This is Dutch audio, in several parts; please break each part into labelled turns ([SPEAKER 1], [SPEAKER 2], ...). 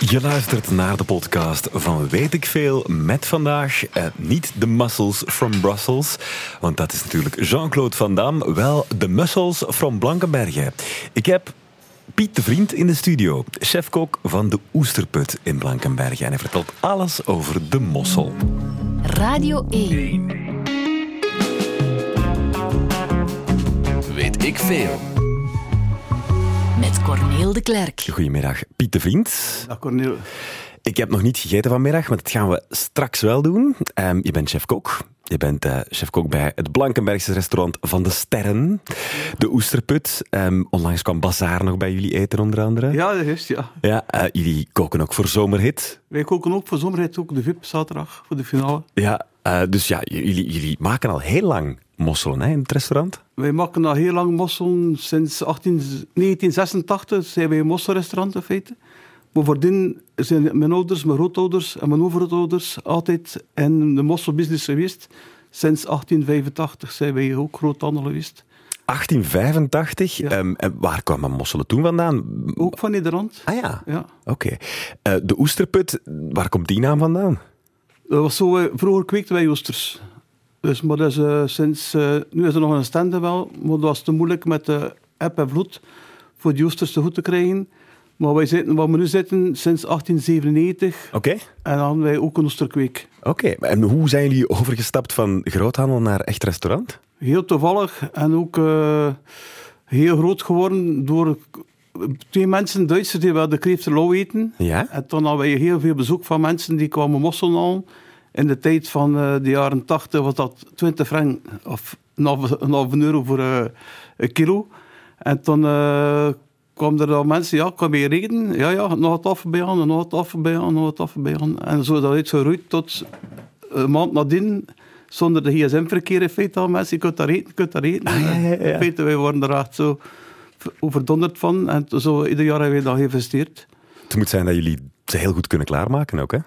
[SPEAKER 1] Je luistert naar de podcast van Weet ik Veel met vandaag eh, niet de Muscles from Brussels, want dat is natuurlijk Jean-Claude Van Damme, wel de Muscles from Blankenbergen. Ik heb Piet de Vriend in de studio, chefkok van de Oesterput in Blankenbergen en hij vertelt alles over de mossel.
[SPEAKER 2] Radio 1.
[SPEAKER 3] Weet ik veel.
[SPEAKER 2] Met Corneel de Klerk.
[SPEAKER 1] Goedemiddag Piet de Vriend.
[SPEAKER 4] Dag Cornel.
[SPEAKER 1] Ik heb nog niet gegeten vanmiddag, maar dat gaan we straks wel doen. Ehm, je bent chef-kok. Je bent eh, chef-kok bij het Blankenbergse restaurant Van de Sterren. De Oesterput. Ehm, onlangs kwam Bazaar nog bij jullie eten, onder andere.
[SPEAKER 4] Ja, dat is het, ja.
[SPEAKER 1] Ja, eh, jullie koken ook voor Zomerhit.
[SPEAKER 4] Wij koken ook voor zomerheid ook de VIP zaterdag voor de finale.
[SPEAKER 1] Ja, eh, dus ja, j- jullie, jullie maken al heel lang mosselen hè, in het restaurant.
[SPEAKER 4] Wij maken al heel lang mosselen. Sinds 18, 1986 zijn wij een mosselrestaurant in feite. Maar voordien zijn mijn ouders, mijn grootouders en mijn overgrootouders altijd in de mosselbusiness geweest. Sinds 1885 zijn wij ook groothandel geweest.
[SPEAKER 1] 1885.
[SPEAKER 4] Ja.
[SPEAKER 1] ehm, en waar kwamen mosselen toen vandaan?
[SPEAKER 4] Ook van Nederland.
[SPEAKER 1] Ah ja,
[SPEAKER 4] Ja.
[SPEAKER 1] oké. Eh, de Oesterput, waar komt die naam vandaan?
[SPEAKER 4] Dat was zo, eh, vroeger kweekten wij oesters. Dus, maar dat is, eh, sinds, eh, nu is er nog een stand wel, maar dat was te moeilijk met de app en vloed voor die oesters te goed te krijgen. Maar wij zitten waar we nu zitten sinds 1897
[SPEAKER 1] Oké.
[SPEAKER 4] en dan hadden wij ook een oesterkweek.
[SPEAKER 1] Oké, en hoe zijn jullie overgestapt van groothandel naar echt restaurant?
[SPEAKER 4] Heel toevallig en ook eh, heel groot geworden door twee mensen, Duitsers, die wel de kreeftelau eten.
[SPEAKER 1] Ja?
[SPEAKER 4] En toen hadden wij heel veel bezoek van mensen die kwamen mosselen halen. In de tijd van eh, de jaren 80 was dat 20 frank of een half, een half euro voor eh, een kilo. En toen eh, kwamen er dan mensen, ja, kan je rekenen? Ja, ja, nog wat af bij aan, nog wat af bij aan, nog wat af bij aan. En zo is dat uitgeroeid tot een maand nadien, zonder de gsm-verkeer in feite al mensen, je kunt daar eten, je kunt daar eten.
[SPEAKER 1] Ah, ja, ja, ja.
[SPEAKER 4] In feite, wij worden er echt zo overdonderd van. En zo ieder jaar hebben we dat geïnvesteerd.
[SPEAKER 1] Het moet zijn dat jullie ze heel goed kunnen klaarmaken ook, hè?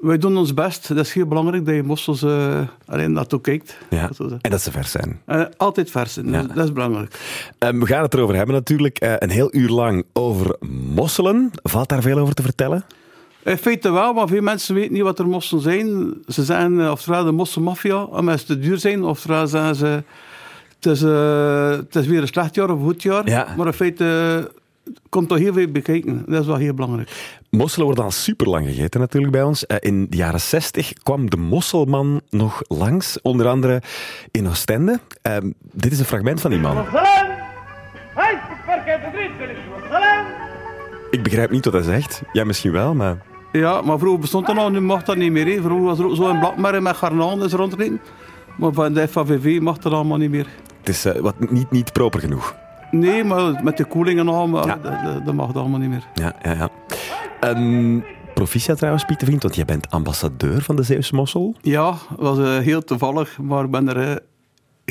[SPEAKER 4] Wij doen ons best. Dat is heel belangrijk dat je mossels eh alleen naartoe kijkt.
[SPEAKER 1] Ja.
[SPEAKER 4] Dat wil zeggen.
[SPEAKER 1] En dat ze vers zijn.
[SPEAKER 4] Eh, altijd versen,
[SPEAKER 1] Ja.
[SPEAKER 4] dat is belangrijk.
[SPEAKER 1] Ehm, we gaan het erover hebben natuurlijk, eh, een heel uur lang over mosselen. Valt daar veel over te vertellen?
[SPEAKER 4] In feite wel, maar veel mensen weten niet wat er mosselen zijn. Ze zijn eh, oftewel de mosselmafia, omdat ze te duur zijn. Oftewel zeggen ze, het is, eh, het is weer een slecht jaar of een goed jaar.
[SPEAKER 1] Ja.
[SPEAKER 4] Maar in feite eh, komt toch heel veel bekijken. Dat is wel heel belangrijk.
[SPEAKER 1] Mosselen worden al super lang gegeten natuurlijk bij ons. Eh, in de jaren 60 kwam de mosselman nog langs, onder andere in Oostende. Ehm, dit is een fragment van die man.
[SPEAKER 5] والسلام هاي تفكر كيف تدريس بلش والسلام
[SPEAKER 1] Ik begrijp niet wat hij zegt. Jij misschien wel, maar...
[SPEAKER 4] Ja, maar vroeger bestond dat nog, nu mag dat niet meer. hè. Vroeger was er ook zo'n blakmerre met garnalen is rondreden. Maar van de FAVV mag dat allemaal niet meer.
[SPEAKER 1] Het is eh, wat, niet, niet proper genoeg.
[SPEAKER 4] Nee, maar met de koeling en al, maar
[SPEAKER 1] Ja.
[SPEAKER 4] dat, dat- dat mag dat allemaal niet meer.
[SPEAKER 1] Ja, ja, ja. Ehm, proficiat trouwens, Piet de Vriend, want jij bent ambassadeur van de Zeeuwse Mossel.
[SPEAKER 4] Ja, het was eh, heel toevallig, maar ik ben er eh,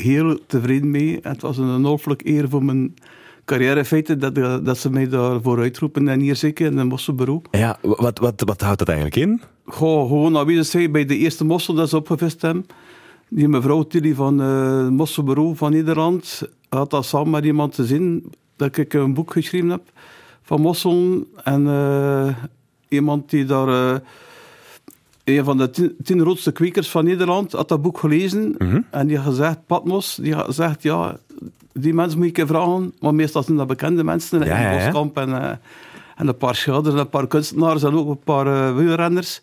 [SPEAKER 4] heel tevreden mee. En het was een ongelooflijk eer voor mijn carrière in feite dat, eh, dat ze mij daarvoor uitroepen. En hier zeker in een mosselbureau.
[SPEAKER 1] Ja, wa- wat, wat, wat houdt dat eigenlijk in?
[SPEAKER 4] Goh, gewoon aanwezig zijn bij de eerste mossel dat ze opgevist hebben. Die mevrouw Tilly van eh Mosselbureau van Nederland had dat samen met iemand te zien dat ik een boek geschreven heb van mosselen. En eh, iemand die daar... eh, een van de tien, tien grootste kwekers van Nederland had dat boek gelezen.
[SPEAKER 1] Mhm.
[SPEAKER 4] En die had gezegd, Patmos, die had gezegd, ja, die mensen moet ik een keer vragen. Maar meestal zijn dat bekende mensen.
[SPEAKER 1] Ja,
[SPEAKER 4] in
[SPEAKER 1] ja, ja.
[SPEAKER 4] Boskamp en, eh, en een paar schilders en een paar kunstenaars en ook een paar eh, wielrenners.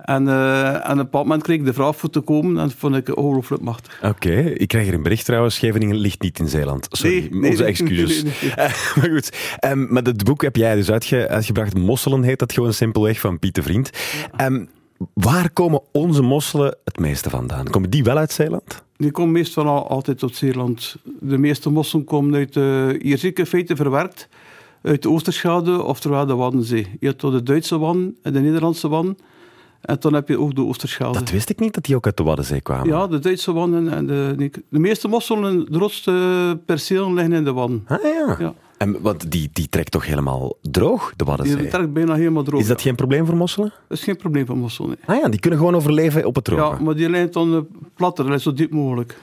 [SPEAKER 4] En, eh, en op een bepaald moment kreeg ik de vraag voor te komen en dat vond ik ongelooflijk machtig.
[SPEAKER 1] Oké, ik krijg hier een bericht trouwens. Scheveningen ligt niet in Zeeland. Sorry,
[SPEAKER 4] Nee, nee,
[SPEAKER 1] onze
[SPEAKER 4] nee,
[SPEAKER 1] excuses.
[SPEAKER 4] nee, nee,
[SPEAKER 1] Eh, maar goed, Ehm maar dat boek heb jij dus uitge- uitgebracht. Mosselen heet dat gewoon simpelweg van Piet de Vriend. Ehm, waar komen onze mosselen het meeste vandaan? Komen die wel uit Zeeland?
[SPEAKER 4] Die komen meestal al- altijd uit Zeeland. De meeste mossen komen uit, eh hier zie ik in feite verwerkt, uit de Oosterschade, oftewel de Waddenzee. Je hebt dan de Duitse wan en de Nederlandse wan. En dan heb je ook de Oosterschade.
[SPEAKER 1] Dat wist ik niet dat die ook uit de Waddenzee kwamen.
[SPEAKER 4] ja, de Duitse wan en- en de... De meeste mosselen, de grootste percelen liggen in de wan.
[SPEAKER 1] Ah ja.
[SPEAKER 4] Ja.
[SPEAKER 1] En, want die, die trekt toch helemaal droog, de
[SPEAKER 4] Die
[SPEAKER 1] Waddenzee?
[SPEAKER 4] trekt bijna helemaal droog.
[SPEAKER 1] Is dat geen probleem voor mosselen?
[SPEAKER 4] Dat is geen probleem van mosselen. nee.
[SPEAKER 1] Ah ja, die kunnen gewoon overleven op het droge.
[SPEAKER 4] Ja, maar die lijnt dan eh, platter, dat is zo diep mogelijk.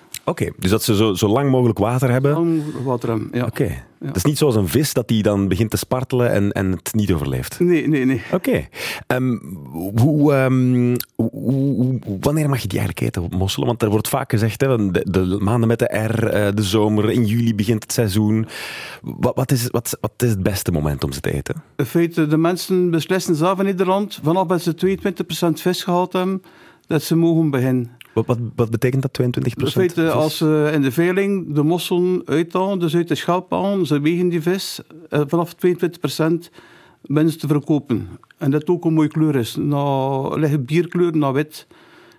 [SPEAKER 1] dus dat ze zo, zo lang mogelijk water hebben. Oké.
[SPEAKER 4] Lang water hebben, ja.
[SPEAKER 1] Dat is niet zoals een vis dat die dan begint te spartelen en, en het niet overleeft.
[SPEAKER 4] Nee, nee, nee.
[SPEAKER 1] Oké. Ehm, hoe, ehm, hoe- hoe- hoe- wanneer mag je die eigenlijk eten, mosselen? Want er wordt vaak gezegd, hè, van de, de maanden met de R, eh, de zomer, in juli begint het seizoen. Wat, wat, is, wat, wat is het beste moment om ze te eten?
[SPEAKER 4] In feite, de mensen beslissen zelf in Nederland, vanaf dat ze 22% vis gehaald hebben, dat ze mogen beginnen.
[SPEAKER 1] Wat, wat, wat betekent dat, 22
[SPEAKER 4] In feite,
[SPEAKER 1] vis?
[SPEAKER 4] als ze in de veiling de mosselen uithalen, dus uit de schelp halen, ze wegen die vis, eh, vanaf 22% mensen te verkopen. En dat ook een mooie kleur is. Nou, Na licht bierkleur, naar wit.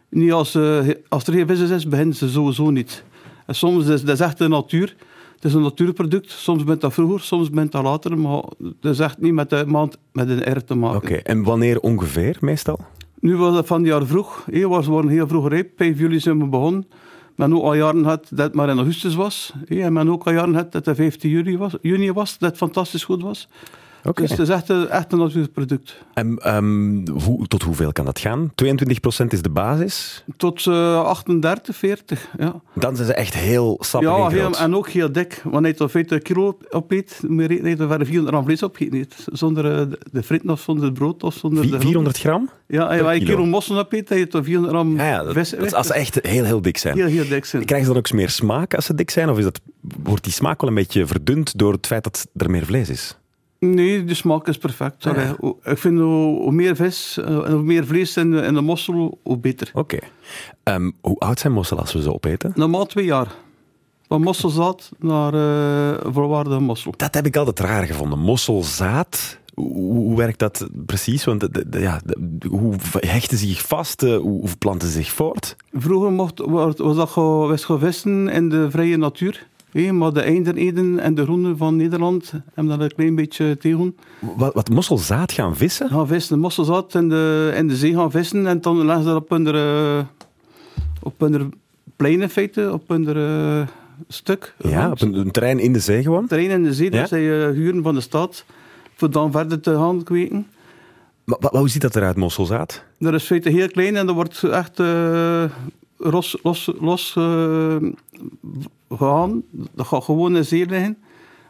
[SPEAKER 4] Niet als, eh, als er geen vis is, beginnen ze sowieso niet. En soms is dat is echt de natuur. Het is een natuurproduct. Soms bent dat vroeger, soms bent dat later. Maar dat is echt niet met de maand met een R te maken.
[SPEAKER 1] Oké, en wanneer ongeveer, meestal?
[SPEAKER 4] Nu was het van het jaar vroeg. Hé, was waren heel vroeg rijp. 5 juli zijn we begonnen. Men ook al jaren had dat het maar in augustus was. Hé, en men ook al jaren had dat het 15 juli was, juni was. Dat het fantastisch goed was.
[SPEAKER 1] Oké.
[SPEAKER 4] Dus het is echt, een- echt een natuurlijk product.
[SPEAKER 1] En ehm, hoe, tot hoeveel kan dat gaan? 22% is de basis.
[SPEAKER 4] Tot eh, 38, 40. Ja,
[SPEAKER 1] Dan zijn ze echt heel sappig
[SPEAKER 4] ja
[SPEAKER 1] en groot.
[SPEAKER 4] heel, en ook heel dik. Want hij toch 50 kilo op- opeet, moet je rekenen dat je er 400 gram vlees op eet. Zonder eh, de- de frieten of zonder het brood of zonder
[SPEAKER 1] Vi-
[SPEAKER 4] de...
[SPEAKER 1] 400 gram?
[SPEAKER 4] Ja, als je een
[SPEAKER 1] kilo.
[SPEAKER 4] kilo mossen opeet, dan heb je toch 400 gram
[SPEAKER 1] Ja, ja dat,
[SPEAKER 4] vis.
[SPEAKER 1] dat is als ze echt heel, heel dik zijn.
[SPEAKER 4] Heel, heel dik zijn.
[SPEAKER 1] Krijgen ze dan ook meer smaak als ze dik zijn? Of is dat, wordt die smaak wel een beetje verdund door het feit dat er meer vlees is?
[SPEAKER 4] Nee, de smaak is perfect.
[SPEAKER 1] Ah,
[SPEAKER 4] Allee, hoe- Ik vind hoe, hoe meer vis eh, en hoe meer vlees in, de- in de mossel, hoe beter.
[SPEAKER 1] Oké. Ehm, hoe oud zijn mosselen als we ze opeten?
[SPEAKER 4] Normaal twee jaar. Van mosselzaad naar eh volwaardige mossel.
[SPEAKER 1] Dat heb ik altijd raar gevonden. Mosselzaad, hoe, hoe- hoe werkt dat precies? Want de- de- de- ja, de- hoe v- hechten ze zich vast? Eh, Hoe, hoe planten ze zich voort?
[SPEAKER 4] Vroeger mocht, wa- was dat ge, was gevissen in de vrije natuur. Hé, maar de eindereden en de groenen van Nederland hebben dat een klein beetje tegen.
[SPEAKER 1] Wat, wat mosselzaad gaan vissen?
[SPEAKER 4] Gaan vissen, de mosselzaad in de, in de zee gaan vissen en dan leggen ze dat op hun, eh, op hun plein in feite, op hun eh, stuk.
[SPEAKER 1] Ja, op een, een terrein in de zee gewoon.
[SPEAKER 4] terrein in de zee,
[SPEAKER 1] Ja?
[SPEAKER 4] dat zij eh, huren van de stad, voor dan verder te gaan kweken.
[SPEAKER 1] Maar, wa- hoe ziet dat eruit, mosselzaad?
[SPEAKER 4] Dat is in feite heel klein en dat wordt echt eh, los, los, los eh, gegaan. Dat gaat gewoon in de zee liggen.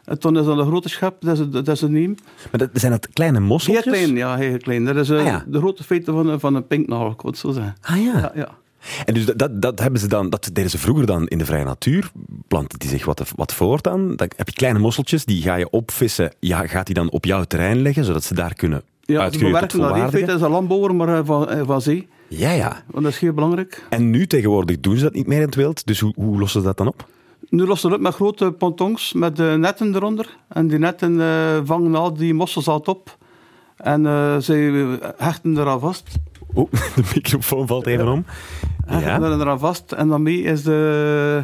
[SPEAKER 4] En dan is dat een grote schep, dat ze, dat ze nemen.
[SPEAKER 1] Maar dat, zijn dat kleine
[SPEAKER 4] Heel
[SPEAKER 1] mosseltjes?
[SPEAKER 4] klein, ja, heel klein. Dat is eh,
[SPEAKER 1] Ah, ja.
[SPEAKER 4] de grote feite van, een- van een pinknagel, ik wil het zo zeggen.
[SPEAKER 1] Ah
[SPEAKER 4] Ja, ja.
[SPEAKER 1] En dus dat, dat, dat hebben ze dan, dat deden ze vroeger dan in de vrije natuur. Planten die zich wat, wat voort aan. Dan heb je kleine mosseltjes, die ga je opvissen. Ja, gaat die dan op jouw terrein leggen, zodat ze daar kunnen
[SPEAKER 4] Ja, ze
[SPEAKER 1] uitgroeien tot
[SPEAKER 4] bewerken dat. In feite
[SPEAKER 1] volwaardige.
[SPEAKER 4] is een landbouwer, maar eh, van, eh, van zee.
[SPEAKER 1] Ja, ja.
[SPEAKER 4] Want dat is heel belangrijk.
[SPEAKER 1] En nu tegenwoordig doen ze dat niet meer in het wild. Dus hoe, hoe lossen ze dat dan op?
[SPEAKER 4] Nu lossen we het op met grote pontons met eh, netten eronder. En die netten eh, vangen al die mosselzaad op. En eh, zij hechten er aan vast.
[SPEAKER 1] Oh, de microfoon valt even om.
[SPEAKER 4] Hechten
[SPEAKER 1] Ja,
[SPEAKER 4] er aan vast. En daarmee is de,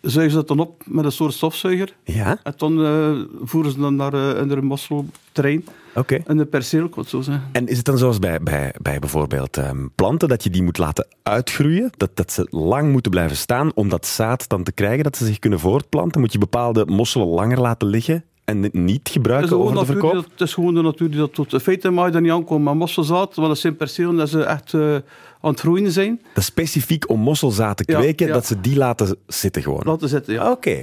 [SPEAKER 4] zuigen ze het dan op met een soort stofzuiger.
[SPEAKER 1] ja?
[SPEAKER 4] En dan eh, voeren ze dan naar eh, in hun mosselterrein.
[SPEAKER 1] oké.
[SPEAKER 4] In de perceel, ik wil het zo zeggen.
[SPEAKER 1] En is het dan zoals bij, bij, bij bijvoorbeeld ehm, planten, dat je die moet laten uitgroeien? Dat, dat ze lang moeten blijven staan om dat zaad dan te krijgen, dat ze zich kunnen voortplanten? Moet je bepaalde mosselen langer laten liggen en dit niet
[SPEAKER 4] Het
[SPEAKER 1] gebruiken
[SPEAKER 4] is, gewoon
[SPEAKER 1] over de
[SPEAKER 4] natuur die
[SPEAKER 1] verkoop?
[SPEAKER 4] dat, het is gewoon de natuur die dat doet. In feite mag je daar niet aankomen. Maar mosselzaad, want dat zijn percelen dat ze echt eh, aan het groeien zijn.
[SPEAKER 1] Dat is specifiek om mosselzaad te
[SPEAKER 4] Ja,
[SPEAKER 1] kweken,
[SPEAKER 4] ja.
[SPEAKER 1] dat ze die laten zitten gewoon. Oké,
[SPEAKER 4] Laten zitten, ja.
[SPEAKER 1] oké.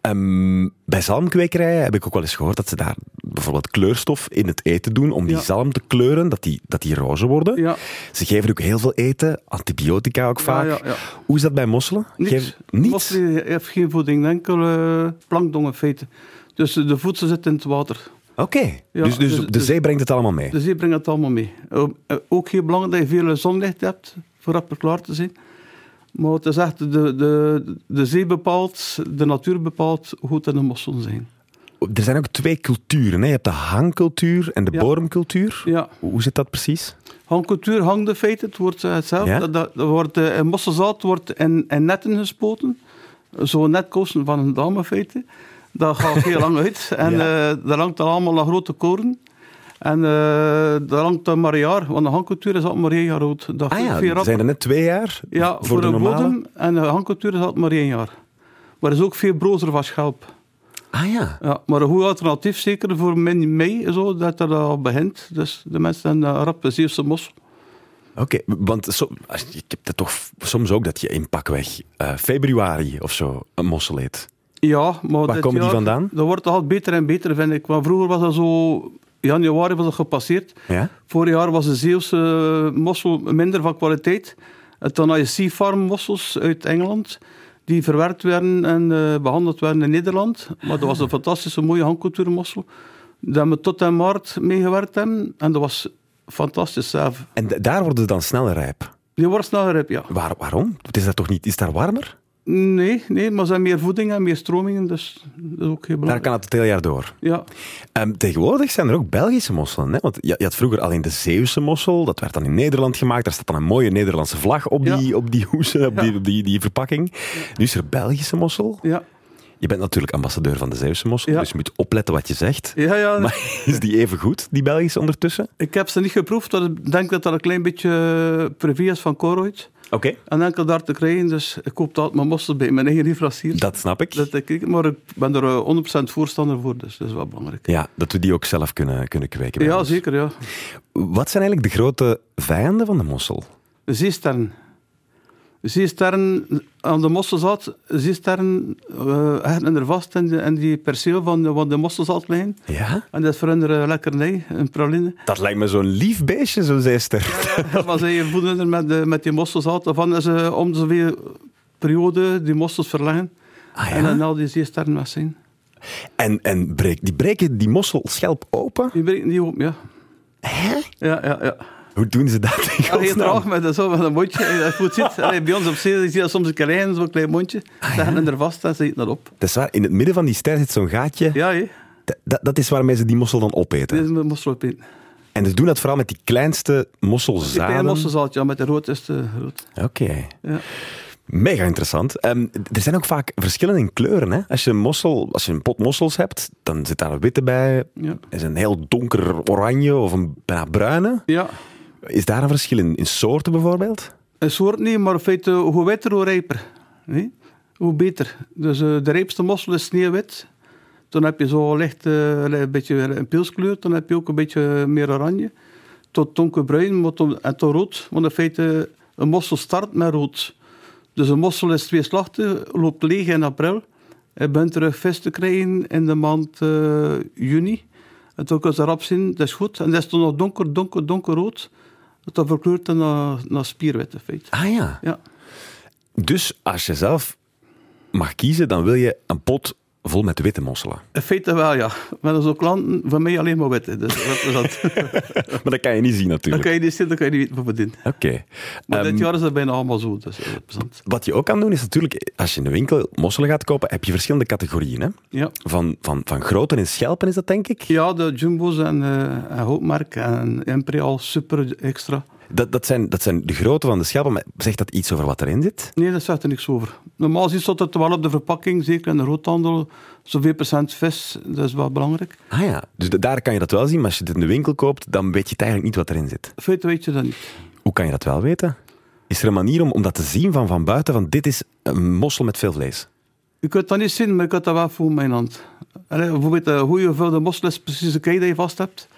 [SPEAKER 1] Ehm, bij zalmkwekerijen heb ik ook wel eens gehoord dat ze daar bijvoorbeeld kleurstof in het eten doen om die
[SPEAKER 4] Ja.
[SPEAKER 1] zalm te kleuren, dat die, dat die roze worden.
[SPEAKER 4] Ja.
[SPEAKER 1] Ze geven ook heel veel eten, antibiotica ook vaak.
[SPEAKER 4] ja, ja.
[SPEAKER 1] Hoe is dat bij mosselen?
[SPEAKER 4] Niets.
[SPEAKER 1] Geef- niets?
[SPEAKER 4] Mosselen heeft geen voeding, enkel eh plankton in feite. Dus de voedsel zit in het water.
[SPEAKER 1] Oké,
[SPEAKER 4] Ja,
[SPEAKER 1] dus, dus,
[SPEAKER 4] dus-
[SPEAKER 1] de
[SPEAKER 4] dus-
[SPEAKER 1] zee brengt het allemaal mee.
[SPEAKER 4] Dus die brengt het allemaal mee. Eh, eh, Ook heel belangrijk dat je veel zonlicht hebt, voor rapper klaar te zijn. Maar het is echt, de, de, de zee bepaalt, de natuur bepaalt hoe goed dat de mosselen zijn.
[SPEAKER 1] Er zijn ook twee culturen. Hè? Je hebt de hangcultuur en de
[SPEAKER 4] Ja.
[SPEAKER 1] bodemcultuur.
[SPEAKER 4] Ja.
[SPEAKER 1] Hoe zit dat precies?
[SPEAKER 4] Hangcultuur, hang de feiten, het wordt eh, hetzelfde.
[SPEAKER 1] Ja?
[SPEAKER 4] Dat, dat, dat wordt, eh, in mosselzaad wordt in, in netten gespoten. Zo'n netkosten van een dame feiten. Dat gaat heel lang uit. En
[SPEAKER 1] Ja.
[SPEAKER 4] eh, daar hangt dan allemaal een grote koren. En eh daar hangt dan maar een jaar, want de hangcultuur is altijd maar één jaar oud. Dat
[SPEAKER 1] Ah
[SPEAKER 4] groeit
[SPEAKER 1] ja,
[SPEAKER 4] veel
[SPEAKER 1] er
[SPEAKER 4] rapper.
[SPEAKER 1] zijn er net twee jaar
[SPEAKER 4] ja,
[SPEAKER 1] voor, de normale.
[SPEAKER 4] bodem en de hangcultuur is altijd maar één jaar. Maar er is ook veel brozer van schelp.
[SPEAKER 1] Ah ja.
[SPEAKER 4] Ja, maar een goed alternatief, zeker voor min mei, zo, dat er al begint. Dus de mensen hebben eh, rap een Zeeuwse mos.
[SPEAKER 1] Oké, want zo, als- ik heb dat toch f- soms ook dat je in pakweg eh, februari of zo een mossel eet.
[SPEAKER 4] Ja, maar
[SPEAKER 1] Waar
[SPEAKER 4] dit
[SPEAKER 1] komen die
[SPEAKER 4] jaar-
[SPEAKER 1] vandaan?
[SPEAKER 4] Dat wordt altijd beter en beter, vind ik. Want vroeger was dat zo... Januari was dat gepasseerd.
[SPEAKER 1] Ja?
[SPEAKER 4] Vorig jaar was de Zeeuwse eh, mossel minder van kwaliteit. En dan had je Sea Farm mossels uit Engeland. Die verwerkt werden en eh, behandeld werden in Nederland. Maar dat was een fantastische mooie handcultuurmossel. Daar hebben we tot in maart mee gewerkt. Hebben. En dat was fantastisch zelf.
[SPEAKER 1] En d- daar worden ze dan snel rijp.
[SPEAKER 4] Die wordt sneller heb, ja.
[SPEAKER 1] Waar, waarom? Het Is dat toch niet, is daar warmer?
[SPEAKER 4] Nee, nee, maar ze hebben meer voeding en meer stromingen. Dus dat is ook heel
[SPEAKER 1] Daar
[SPEAKER 4] belangrijk.
[SPEAKER 1] kan het het hele jaar door.
[SPEAKER 4] Ja.
[SPEAKER 1] Ehm, tegenwoordig zijn er ook Belgische mosselen. Hè? Want je, je had vroeger alleen de Zeeuwse mossel. Dat werd dan in Nederland gemaakt. Daar staat dan een mooie Nederlandse vlag op die,
[SPEAKER 4] Ja.
[SPEAKER 1] op die hoesen, op, die, op die, die verpakking. Nu is er Belgische mossel.
[SPEAKER 4] Ja.
[SPEAKER 1] Je bent natuurlijk ambassadeur van de Zeeuwse mossel,
[SPEAKER 4] Ja.
[SPEAKER 1] dus je moet opletten wat je zegt.
[SPEAKER 4] Ja, ja.
[SPEAKER 1] Maar is die even goed, die Belgische ondertussen?
[SPEAKER 4] Ik heb ze niet geproefd, dat ik denk dat dat een klein beetje eh, privé is van Coroid.
[SPEAKER 1] Oké.
[SPEAKER 4] En enkel daar te krijgen, dus ik koop altijd mijn mossels bij mijn eigen leverancier.
[SPEAKER 1] Dat snap ik.
[SPEAKER 4] Dat ik, maar ik ben er eh, 100% voorstander voor, dus dat is wel belangrijk.
[SPEAKER 1] Ja, dat we die ook zelf kunnen, kunnen kweken. bij
[SPEAKER 4] Ja,
[SPEAKER 1] ons.
[SPEAKER 4] zeker, ja.
[SPEAKER 1] Wat zijn eigenlijk de grote vijanden van de mossel?
[SPEAKER 4] Zeestern. Zeestern aan de mosselzaad, zeestern eh hechten er vast in, de, in die perceel van de, van de mosselzaad liggen.
[SPEAKER 1] Ja?
[SPEAKER 4] En dat is voor hun een lekkernij, een praline.
[SPEAKER 1] Dat lijkt me zo'n lief beestje, zo'n zeester.
[SPEAKER 4] Maar zij voeden er met, de- met die mosselzaad, daarvan is eh, om de zoveel periode die mossels verlengen.
[SPEAKER 1] Ah
[SPEAKER 4] En dan
[SPEAKER 1] ja?
[SPEAKER 4] al die zeesterren weg zijn.
[SPEAKER 1] En, en breek, die breken die mosselschelp open?
[SPEAKER 4] Die breken die open, ja.
[SPEAKER 1] Hè?
[SPEAKER 4] Ja, ja, ja.
[SPEAKER 1] Hoe doen ze dat in
[SPEAKER 4] Heel traag
[SPEAKER 1] godsnaam?
[SPEAKER 4] met, dat zo, met een mondje. Eh, Als je het goed ziet, allee, bij ons op zee zie je dat soms een klein, zo'n klein mondje.
[SPEAKER 1] Ah,
[SPEAKER 4] Ze gaan er vast en ze eten dat op.
[SPEAKER 1] Dat is waar, in het midden van die ster zit zo'n gaatje.
[SPEAKER 4] Ja, hé.
[SPEAKER 1] D- Dat, dat is waarmee ze die mossel dan opeten.
[SPEAKER 4] Dit is mijn mosselpin.
[SPEAKER 1] En ze doen dat vooral met die kleinste
[SPEAKER 4] Die kleine
[SPEAKER 1] mosselzaden.
[SPEAKER 4] mosselzaad, ja, met de rood is de rood.
[SPEAKER 1] Oké.
[SPEAKER 4] Ja.
[SPEAKER 1] Mega interessant. Ehm, er zijn ook vaak verschillen in kleuren. Hè? Als, je een mossel, als je een pot mossels hebt, dan zit daar een witte bij.
[SPEAKER 4] Ja.
[SPEAKER 1] Is een heel donker oranje of een bijna bruine.
[SPEAKER 4] ja.
[SPEAKER 1] Is daar een verschil in, in soorten bijvoorbeeld?
[SPEAKER 4] Een soort niet, maar in feite hoe witter, hoe rijper. Nee? Hoe beter. Dus eh, de rijpste mossel is sneeuwwit. Dan heb je zo licht eh, een beetje een pilskleur. Dan heb je ook een beetje meer oranje. Tot donkerbruin maar tot- en tot rood. Want in feite, een mossel start met rood. Dus een mossel is twee slachten, loopt leeg in april. En bent terug vis te krijgen in de maand eh, juni. En toen kun ze rap zien, dat is goed. En dat is toen nog donker, donker, donkerrood. Dat verkleurt dan naar, naar spierwit in feite.
[SPEAKER 1] Ah ja.
[SPEAKER 4] Ja.
[SPEAKER 1] Dus als je zelf mag kiezen, dan wil je een pot vol met witte mosselen.
[SPEAKER 4] In feite wel, ja. Maar dat is ook klanten, van mij alleen maar witte. Dus dat is dat.
[SPEAKER 1] Maar dat kan je niet zien
[SPEAKER 4] dan
[SPEAKER 1] natuurlijk.
[SPEAKER 4] kan je niet zitten, dan kan je niet weten wat verdienen.
[SPEAKER 1] Oké.
[SPEAKER 4] Maar
[SPEAKER 1] Ehm,
[SPEAKER 4] dit jaar is dat bijna allemaal zo. Dus, eh, plezant.
[SPEAKER 1] Wat je ook kan doen is natuurlijk, als je in de winkel mosselen gaat kopen, heb je verschillende categorieën. Hè?
[SPEAKER 4] ja.
[SPEAKER 1] Van, van, van groten en schelpen is dat denk ik.
[SPEAKER 4] ja, de jumbo's en, eh en Hoopmerk en Imperial, super extra.
[SPEAKER 1] Dat, dat, zijn, dat zijn de grootte van de schelpen, maar zegt dat iets over wat erin zit?
[SPEAKER 4] Nee, dat zegt er niks over. Normaal gezien staat het wel op de verpakking, zeker in de roodhandel, zoveel procent vis, dat is wel belangrijk.
[SPEAKER 1] Ah ja, dus da- daar kan je dat wel zien, maar als je dit in de winkel koopt, dan weet je het eigenlijk niet wat erin zit.
[SPEAKER 4] In feite weet je dat niet.
[SPEAKER 1] Hoe kan je dat wel weten? Is er een manier om, om dat te zien van, van buiten, van dit is een mossel met veel vlees?
[SPEAKER 4] Je kunt dat niet zien, maar je kunt dat wel voelen met je hand. Allee, bijvoorbeeld eh, hoe je hoeveel mossel is precies de kei dat je vast hebt.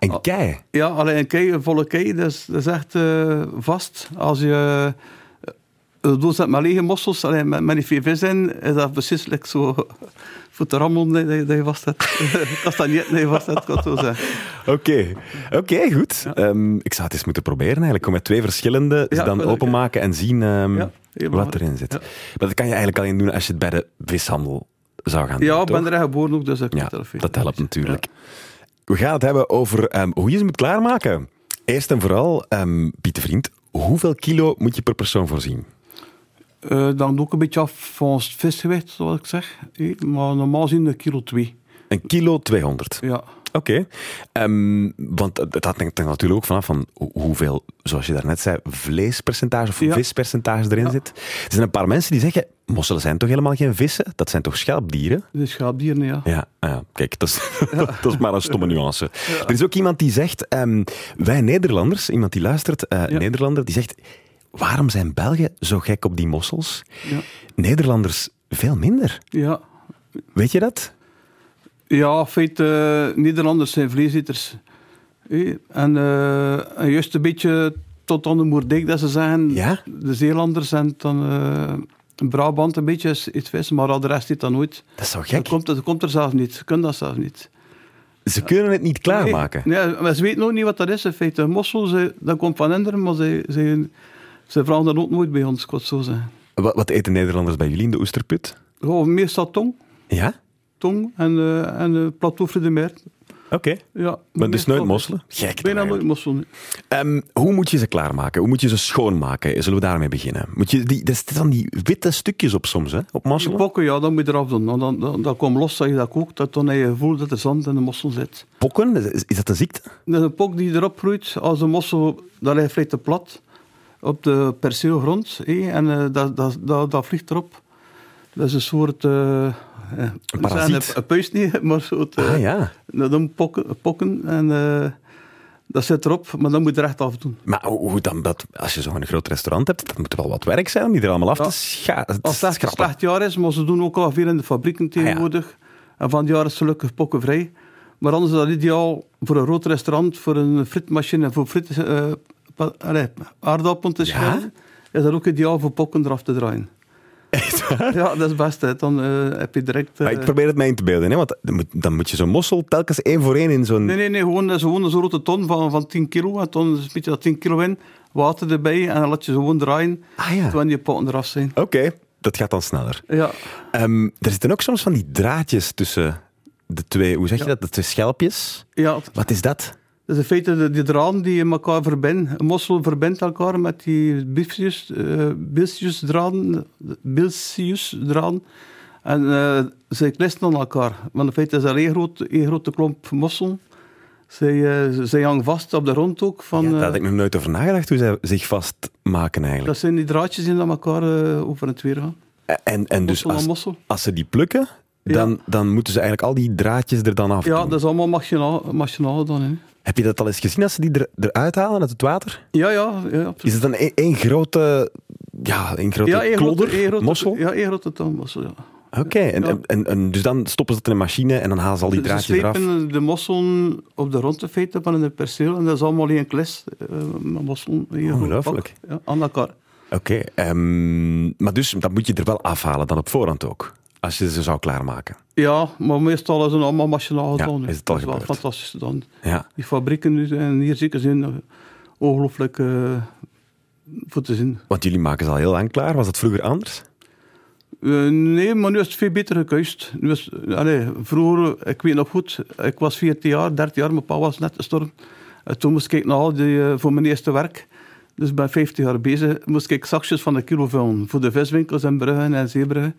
[SPEAKER 1] En
[SPEAKER 4] Oh.
[SPEAKER 1] kei.
[SPEAKER 4] Ja, alleen een kei, een volle kei, dat is, dat is echt eh, vast. Als je eh, een doos hebt met lege mossels, allee, met, met die veel vis in, is dat precies like zo voor te rammelen dat je, dat je vast hebt. dat is dan niet dat je vast hebt, kan ik zo zeggen.
[SPEAKER 1] Oké, oké, goed. Ehm, ik zou het eens moeten proberen eigenlijk. Kom met twee verschillende, ze
[SPEAKER 4] Ja,
[SPEAKER 1] dan
[SPEAKER 4] wel, ja.
[SPEAKER 1] openmaken en zien ehm,
[SPEAKER 4] Ja,
[SPEAKER 1] wat
[SPEAKER 4] heel belangrijk.
[SPEAKER 1] erin zit.
[SPEAKER 4] Ja.
[SPEAKER 1] Maar dat kan je eigenlijk alleen doen als je het bij de vishandel zou gaan doen.
[SPEAKER 4] Ja, ik
[SPEAKER 1] toch?
[SPEAKER 4] ben er echt geboren ook, dus dat
[SPEAKER 1] Ja,
[SPEAKER 4] kan ik wel
[SPEAKER 1] dat helpt
[SPEAKER 4] weten.
[SPEAKER 1] natuurlijk. We gaan het hebben over ehm, hoe je ze moet klaarmaken. Eerst en vooral, ehm Piet de Vriend, hoeveel kilo moet je per persoon voorzien?
[SPEAKER 4] Eh, dan doe ik een beetje af van het visgewicht, zoals ik zeg. Eh, Maar normaal zien een kilo twee.
[SPEAKER 1] Een kilo 200.
[SPEAKER 4] Ja.
[SPEAKER 1] Oké. Ehm, want dat hangt er natuurlijk ook vanaf van ho- hoeveel, zoals je daarnet zei, vleespercentage of
[SPEAKER 4] Ja.
[SPEAKER 1] vispercentage erin zit. Er zijn een paar mensen die zeggen, mosselen zijn toch helemaal geen vissen? Dat zijn toch schelpdieren?
[SPEAKER 4] De schaapdieren, ja.
[SPEAKER 1] Ja, ah ja, kijk, dat is, dat is maar een stomme nuance. Er is ook iemand die zegt, ehm, wij Nederlanders, iemand die luistert, eh,
[SPEAKER 4] Ja.
[SPEAKER 1] Nederlander, die zegt, waarom zijn Belgen zo gek op die mossels?
[SPEAKER 4] Ja.
[SPEAKER 1] Nederlanders veel minder.
[SPEAKER 4] Ja,
[SPEAKER 1] Weet je dat?
[SPEAKER 4] ja in feite, eh, Nederlanders zijn vleeseters. Eh, En, eh, en juist een beetje tot aan de Moerdijk, dat ze zeggen.
[SPEAKER 1] Ja?
[SPEAKER 4] De Zeelanders en dan eh, Brabant een beetje is iets vis, maar al de rest zit dat nooit.
[SPEAKER 1] Dat is zo gek.
[SPEAKER 4] Dat komt, dat komt er zelf niet. Ze kunnen dat zelf niet.
[SPEAKER 1] Ze kunnen het niet klaarmaken.
[SPEAKER 4] Nee, nee, maar ze weten ook niet wat dat is in feite. Mossel, ze, dat komt van Enderen, maar ze, ze, ze vragen dat ook nooit bij ons, ik wou het zo zeggen.
[SPEAKER 1] Wat, wat eten Nederlanders bij jullie in de oesterput?
[SPEAKER 4] Gewoon meestal tong.
[SPEAKER 1] Ja?
[SPEAKER 4] Tong en, eh en eh plateau Friedemeer.
[SPEAKER 1] Oké.
[SPEAKER 4] Ja,
[SPEAKER 1] Maar dus
[SPEAKER 4] meestal-
[SPEAKER 1] nooit mosselen? Gek. dan
[SPEAKER 4] Bijna
[SPEAKER 1] eigenlijk.
[SPEAKER 4] nooit mossel. nee.
[SPEAKER 1] Ehm, hoe moet je ze klaarmaken? Hoe moet je ze schoonmaken? Zullen we daarmee beginnen? Moet je die, er zitten dan die witte stukjes op soms, hè? Op
[SPEAKER 4] Die
[SPEAKER 1] mosselen?
[SPEAKER 4] bokken, ja, dan moet je eraf doen. Dan, dan, dan, dan komt los, dat je dat kookt, dat dan heb je gevoel dat er zand in de mossel zit.
[SPEAKER 1] Pokken? Is, is dat de ziekte?
[SPEAKER 4] Dat is een pok die erop groeit, als de mossel, dat ligt vrij te plat op de perceelgrond. hé, en eh, dat, dat, dat, dat vliegt erop. Dat is een soort... eh, eh, we
[SPEAKER 1] parasiet.
[SPEAKER 4] zeggen Een, een puis niet, maar zo.
[SPEAKER 1] Ah ja.
[SPEAKER 4] Dat noemen pokken. pokken en, eh, dat zit erop, maar dan moet je er echt af doen.
[SPEAKER 1] Maar hoe hoe dan dat, als je zo'n groot restaurant hebt, dat moet er wel wat werk zijn om die er allemaal af
[SPEAKER 4] Ja.
[SPEAKER 1] te scha- te
[SPEAKER 4] Als het echt een
[SPEAKER 1] schrappen.
[SPEAKER 4] slecht jaar is, maar ze doen ook al veel in de fabrieken
[SPEAKER 1] Ah,
[SPEAKER 4] tegenwoordig. En van het jaar is gelukkig pokken vrij. Maar anders is dat ideaal voor een rood restaurant, voor een frietmachine en voor friet, eh, pa- allee, aardappelen te
[SPEAKER 1] Ja?
[SPEAKER 4] schillen. Is dat ook ideaal voor pokken eraf te draaien?
[SPEAKER 1] Echt waar?
[SPEAKER 4] Ja, dat is best. Hè. Dan eh, heb je direct. eh,
[SPEAKER 1] Maar ik probeer het mij in te beelden, hè? want dan moet, dan moet je zo'n mossel telkens één voor één in zo'n...
[SPEAKER 4] Nee, nee, nee, gewoon, dat is gewoon zo'n grote ton van, van 10 kilo. En dan smiet je dat 10 kilo in, water erbij en dan laat je ze gewoon draaien.
[SPEAKER 1] Ah ja, oké.
[SPEAKER 4] Toen die potten eraf zijn.
[SPEAKER 1] Dat gaat dan sneller.
[SPEAKER 4] Ja,
[SPEAKER 1] Ehm, er zitten ook soms van die draadjes tussen de twee, hoe zeg je dat, de twee schelpjes.
[SPEAKER 4] ja.
[SPEAKER 1] Wat is dat?
[SPEAKER 4] Dus in feite de, die draden die je elkaar verbindt. Een mossel verbindt elkaar met die biefjes, eh bilsjesdraden. bilsjesdraden. En eh, zij klisten aan elkaar. Want in feite is er één, groot, één grote klomp mossel. Zij, eh, ze- zij hangen vast op de grond ook. Van,
[SPEAKER 1] ja, daar
[SPEAKER 4] eh,
[SPEAKER 1] had ik nog nooit over nagedacht, hoe zij zich vastmaken eigenlijk.
[SPEAKER 4] dat zijn die draadjes die aan elkaar eh, over en weer gaan.
[SPEAKER 1] En, en dus
[SPEAKER 4] mossel aan
[SPEAKER 1] als,
[SPEAKER 4] mossel.
[SPEAKER 1] als ze die plukken, dan, dan moeten ze eigenlijk al die draadjes er dan af
[SPEAKER 4] Ja,
[SPEAKER 1] doen.
[SPEAKER 4] dat is allemaal machinaal, machinaal dan. Hè.
[SPEAKER 1] Heb je dat al eens gezien als ze die er, eruit halen uit het water?
[SPEAKER 4] Ja, ja, ja, absoluut.
[SPEAKER 1] Is het dan één één grote, ja, één grote
[SPEAKER 4] ja, één grote-
[SPEAKER 1] klodder,
[SPEAKER 4] één grote-
[SPEAKER 1] mossel?
[SPEAKER 4] Ja, één grote tandmossel, ja.
[SPEAKER 1] Oké, en,
[SPEAKER 4] Ja.
[SPEAKER 1] en, en, en dus dan stoppen ze het in een machine en dan halen ze al die
[SPEAKER 4] Ze
[SPEAKER 1] draadjes eraf.
[SPEAKER 4] slepen de mosselen op de rondte feiten van een perceel en dat is allemaal één kles. eh, met mosselen in een groot
[SPEAKER 1] Ongelooflijk.
[SPEAKER 4] pak, Ja, aan elkaar.
[SPEAKER 1] Oké, ehm, maar dus dat moet je er wel afhalen dan op voorhand ook. Als je ze zou klaarmaken.
[SPEAKER 4] Ja, maar meestal is het allemaal machinaal
[SPEAKER 1] Ja,
[SPEAKER 4] gedaan. hè.
[SPEAKER 1] is het al
[SPEAKER 4] dat is wel
[SPEAKER 1] gebeurd.
[SPEAKER 4] fantastisch dan.
[SPEAKER 1] Ja.
[SPEAKER 4] Die fabrieken nu zijn hier zeker zijn eh, ongelooflijk eh, voor te zien.
[SPEAKER 1] Want jullie maken ze al heel lang klaar. Was dat vroeger anders?
[SPEAKER 4] Eh, nee, maar nu is het veel beter gekuist. Nu is, allee, vroeger, ik weet nog goed, ik was 14 jaar, 13 jaar, mijn pa was net gestorven. En toen moest ik naar al die, eh, voor mijn eerste werk, dus ben 15 jaar bezig, moest ik zakjes van een kilo vullen voor de viswinkels in Brugge en Zeebrugge.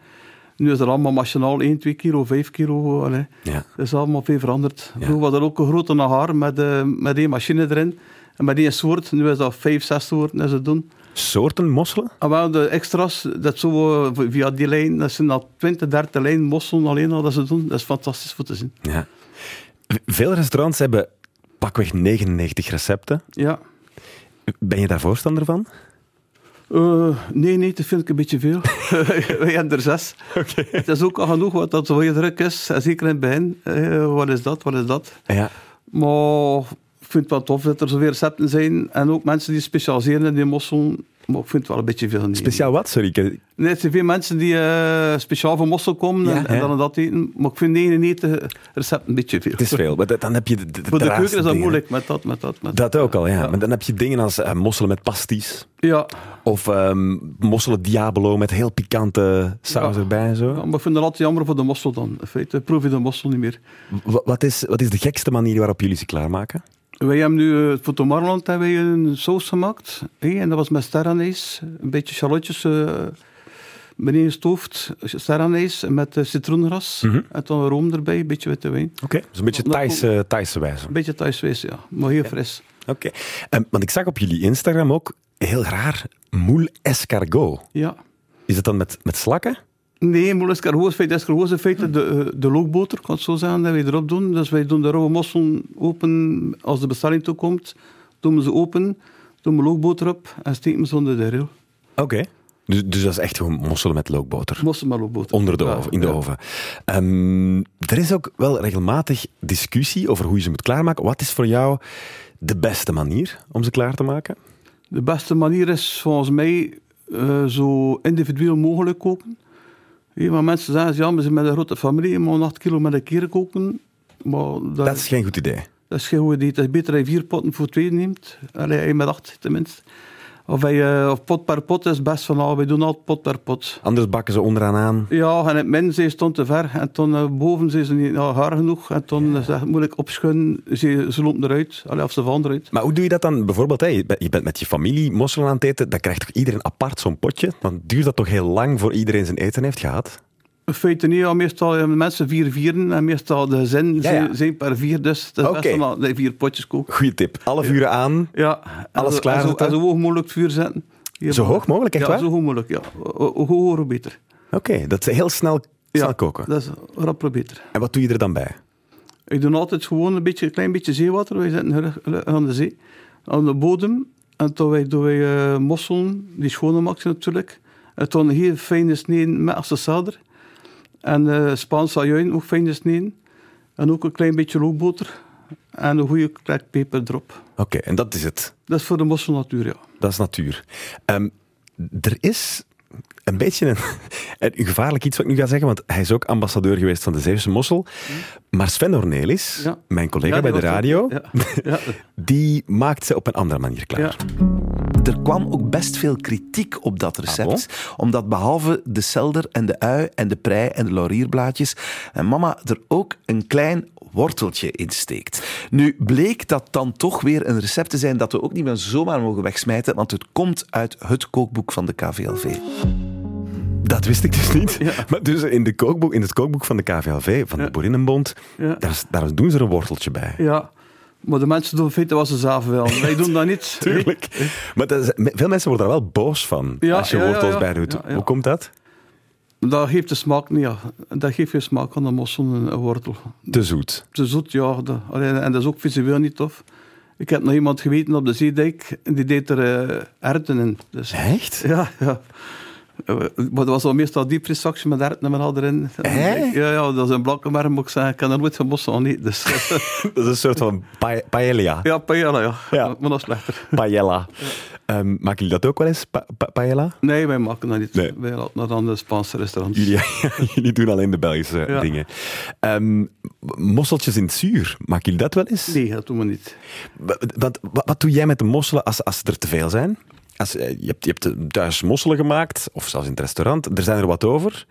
[SPEAKER 4] Nu is er allemaal machinaal 1, 2 kilo, 5 kilo. Allee.
[SPEAKER 1] Ja.
[SPEAKER 4] Dat is allemaal veel veranderd. Vroeger was er ook een grote nagar met, eh, met één machine erin en met één soort. Nu is dat 5, 6 soorten dat ze doen.
[SPEAKER 1] Soorten mosselen?
[SPEAKER 4] Ah, wel, de extra's, dat zo eh, via die lijn, dat zijn al 20, 30 lijn mosselen alleen al dat ze doen. Dat is fantastisch voor te zien.
[SPEAKER 1] Ja. V- Veel restaurants hebben pakweg 99 recepten.
[SPEAKER 4] Ja.
[SPEAKER 1] Ben je daar voorstander van?
[SPEAKER 4] Eh, nee, nee, dat vind ik een beetje veel. Wij hebben er zes. Het is ook al genoeg wat dat zo heel druk is. En zeker in het begin. Eh, wat is dat, wat is dat?
[SPEAKER 1] Ja.
[SPEAKER 4] Maar ik vind het wel tof dat er zoveel recepten zijn. En ook mensen die specialiseren in die mosselen. Maar ik vind het wel een beetje veel. Nee.
[SPEAKER 1] Speciaal wat? Sorry. ik-
[SPEAKER 4] Nee, het zijn veel mensen die eh, speciaal voor mossel komen
[SPEAKER 1] Ja,
[SPEAKER 4] en, en
[SPEAKER 1] ja.
[SPEAKER 4] dan en dat eten. Maar ik vind 99 recepten eh, een beetje veel.
[SPEAKER 1] Het is veel. Maar dat- dan heb je de, de,
[SPEAKER 4] Voor de
[SPEAKER 1] raarste
[SPEAKER 4] keuken is dat
[SPEAKER 1] dingen.
[SPEAKER 4] moeilijk met dat, met dat, met
[SPEAKER 1] Dat ook al, ja. Maar dan heb je dingen als eh, mosselen met pasties.
[SPEAKER 4] Ja,
[SPEAKER 1] Of ehm, mosselen diabolo met heel pikante saus
[SPEAKER 4] Ja.
[SPEAKER 1] erbij en zo.
[SPEAKER 4] maar ik vind het altijd jammer voor de mossel dan. In feite proef je de mossel niet meer.
[SPEAKER 1] Wa- Wat is, wat is de gekste manier waarop jullie ze klaarmaken?
[SPEAKER 4] Wij hebben nu, eh, voor Tomorrowland hebben wij een saus gemaakt. hè, en dat was met sterrenijs, een beetje charlotjes eh beneden gestoofd. Sterrenijs met eh, citroengras en dan room erbij, een beetje witte wijn.
[SPEAKER 1] Oké. Dat is een beetje
[SPEAKER 4] Nou,
[SPEAKER 1] Thaise, Thaise wijze.
[SPEAKER 4] Een beetje thuiswees, ja. Maar heel fris.
[SPEAKER 1] Oké. Ehm, want ik zag op jullie Instagram ook heel raar moule escargot.
[SPEAKER 4] Ja.
[SPEAKER 1] Is dat dan met, met slakken?
[SPEAKER 4] Nee, moeilijk escargot. Feit escargot is in feite de, eh, de lookboter, kan het zo zeggen, dat wij erop doen. Dus wij doen de rauwe mosselen open als de bestelling toekomt. Doen we ze open, doen we lookboter op en steken we ze onder de rail.
[SPEAKER 1] Oké. Dus, dus dat is echt gewoon mosselen met lookboter.
[SPEAKER 4] Mosselen maar lookboter.
[SPEAKER 1] Onder de
[SPEAKER 4] Ja,
[SPEAKER 1] oven, in de
[SPEAKER 4] ja.
[SPEAKER 1] oven. Ehm, er is ook wel regelmatig discussie over hoe je ze moet klaarmaken. Wat is voor jou de beste manier om ze klaar te maken?
[SPEAKER 4] De beste manier is volgens mij eh, zo individueel mogelijk koken. Hé, want mensen zeggen, ja, we zijn met een grote familie, maar een acht kilo met een keer koken. Maar dat,
[SPEAKER 1] Dat is geen goed idee.
[SPEAKER 4] dat is geen goed idee. Het is beter dat je vier potten voor twee neemt. Allee, één met acht tenminste. Of, hij, eh, of pot per pot is best van, nou, wij doen altijd pot per pot.
[SPEAKER 1] Anders bakken ze onderaan aan.
[SPEAKER 4] Ja, en het min ze stond te ver. En toen eh, boven ze ze niet nou, haar genoeg. En toen is het moeilijk opschunnen. Ze, ze loopt eruit. Allee, of ze valt eruit.
[SPEAKER 1] Maar hoe doe je dat dan? Bijvoorbeeld, hè, je bent- je bent met je familie mosselen aan het eten. Dan krijgt toch iedereen apart zo'n potje? Dan duurt dat toch heel lang voor iedereen zijn eten heeft gehad?
[SPEAKER 4] In feite niet. ja, meestal hebben mensen vier vieren. En meestal de gezin
[SPEAKER 1] Ja, ja.
[SPEAKER 4] zijn- zijn per vier. Dus het is
[SPEAKER 1] Oké.
[SPEAKER 4] best wel dat je vier potjes koken.
[SPEAKER 1] Goeie tip. Alle uren aan.
[SPEAKER 4] Ja. En
[SPEAKER 1] Alles
[SPEAKER 4] zo-
[SPEAKER 1] klaar
[SPEAKER 4] En zo,
[SPEAKER 1] zitten?
[SPEAKER 4] en zo hoog mogelijk het vuur zetten. Hier-
[SPEAKER 1] Zo hoog mogelijk, echt
[SPEAKER 4] ja,
[SPEAKER 1] waar?
[SPEAKER 4] zo hoog mogelijk, ja. Hoe hoe hoger, hoe beter.
[SPEAKER 1] Oké, dat is heel snel, snel
[SPEAKER 4] ja,
[SPEAKER 1] koken.
[SPEAKER 4] Dat is rapper beter.
[SPEAKER 1] En wat doe je er dan bij?
[SPEAKER 4] Ik doe altijd gewoon een, beetje, een klein beetje zeewater. Wij zitten hier aan de zee, aan de bodem. En toen wij, doen wij eh, mosselen, die schone maken ze natuurlijk. En toen een heel fijne sneden met assesader. En eh, Spaanse ajuin, ook fijne sneden. En ook een klein beetje rookboter. En een goede klek peper erop.
[SPEAKER 1] Oké, en dat is het.
[SPEAKER 4] Dat is voor de mossel natuur, ja.
[SPEAKER 1] Dat is natuur. Ehm, er is een beetje een, een gevaarlijk iets wat ik nu ga zeggen, want hij is ook ambassadeur geweest van de Zeeuwse Mossel. Maar Sven Ornelis,
[SPEAKER 4] Ja.
[SPEAKER 1] mijn collega
[SPEAKER 4] Ja,
[SPEAKER 1] bij
[SPEAKER 4] die
[SPEAKER 1] de
[SPEAKER 4] was-
[SPEAKER 1] radio,
[SPEAKER 4] Ja, ja,
[SPEAKER 1] die maakt ze op een andere manier klaar.
[SPEAKER 4] ja.
[SPEAKER 3] Er kwam ook best veel kritiek op dat recept. Omdat behalve de selder en de ui en de prei en de laurierblaadjes... en mama er ook een klein worteltje in steekt. Nu bleek dat dan toch weer een recept te zijn dat we ook niet meer zomaar mogen wegsmijten, want het komt uit het kookboek van de KVLV.
[SPEAKER 1] Dat wist ik dus niet. Maar dus in, de kookboek, in het kookboek van de KVLV, van de Boerinnenbond,
[SPEAKER 4] Ja.
[SPEAKER 1] daar, is- daar doen ze er een worteltje bij.
[SPEAKER 4] ja. Maar de mensen doen feiten wat ze zelf wel. Wij doen dat niet.
[SPEAKER 1] Tuurlijk. Maar dat is- veel mensen worden daar wel boos van
[SPEAKER 4] Ja,
[SPEAKER 1] als je
[SPEAKER 4] ja, ja,
[SPEAKER 1] wortels
[SPEAKER 4] ja.
[SPEAKER 1] bij doet.
[SPEAKER 4] Ja, ja.
[SPEAKER 1] Hoe komt dat?
[SPEAKER 4] Dat geeft de smaak niet, ja. Dat geeft je smaak aan de mossel een wortel.
[SPEAKER 1] Te zoet.
[SPEAKER 4] Te zoet, ja. Dat, allee, en dat is ook visueel niet tof. Ik heb nog iemand geweten op de zeedijk, en die deed er eh, erwten in. Dus,
[SPEAKER 1] Echt?
[SPEAKER 4] ja, ja. Eh, Maar dat was al meestal diepvrieszakje met erwten en al erin.
[SPEAKER 1] Hè?
[SPEAKER 4] Ja, ja, dat is een blanke merk, moet ik zeggen. Ik kan er nooit van mossel aan eten. Dus.
[SPEAKER 1] Dat is een soort van pa- paella.
[SPEAKER 4] ja, paella, ja.
[SPEAKER 1] Ja.
[SPEAKER 4] Maar dat is slechter.
[SPEAKER 1] Paella. Ehm, maken jullie dat ook wel eens, pa- pa- paella?
[SPEAKER 4] Nee, wij maken dat niet.
[SPEAKER 1] Nee.
[SPEAKER 4] Wij laten dat aan de Spaanse restaurants.
[SPEAKER 1] Jullie, jullie doen alleen de Belgische
[SPEAKER 4] Ja.
[SPEAKER 1] dingen. Ehm, mosseltjes in het zuur, maken jullie dat wel eens?
[SPEAKER 4] Nee, dat doen we niet.
[SPEAKER 1] Wa- Want, wa- wat doe jij met de mosselen als, als er te veel zijn? Als, eh, je, hebt, je hebt thuis mosselen gemaakt, of zelfs in het restaurant. Er zijn er wat over.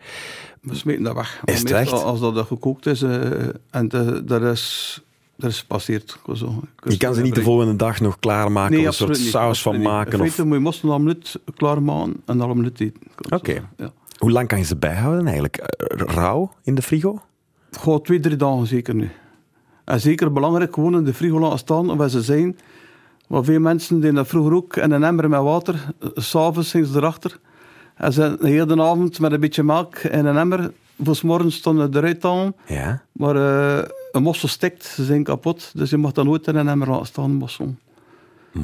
[SPEAKER 4] We smeten dat weg.
[SPEAKER 1] Is
[SPEAKER 4] Maar
[SPEAKER 1] het
[SPEAKER 4] meestal
[SPEAKER 1] echt?
[SPEAKER 4] Als dat gekookt is eh, en de, de rest, de rest passeert. Zo.
[SPEAKER 1] Je kan ze niet de volgende dag nog klaarmaken of een soort
[SPEAKER 4] absoluut niet.
[SPEAKER 1] saus van
[SPEAKER 4] Absoluut niet.
[SPEAKER 1] maken.
[SPEAKER 4] In
[SPEAKER 1] Of...
[SPEAKER 4] feite moet je moesten een half minuut klaarmaken en een half minuut eten. kan ik zo
[SPEAKER 1] Oké.
[SPEAKER 4] zeggen, Ja.
[SPEAKER 1] Hoe lang kan je ze bijhouden eigenlijk? Eh, Rauw in de frigo?
[SPEAKER 4] Gewoon twee, drie dagen zeker nu. En zeker belangrijk, gewoon in de frigo laten staan waar ze zijn. Want veel mensen deden dat vroeger ook in een emmer met water. eh, S'avonds zijn ze erachter. En ze heel de avond met een beetje melk in een emmer. Voor 's morgens stonden eruit halen.
[SPEAKER 1] Ja.
[SPEAKER 4] Maar eh, een mossel stikt, ze zijn kapot. Dus je mag dat nooit in een emmer laten staan, mossel.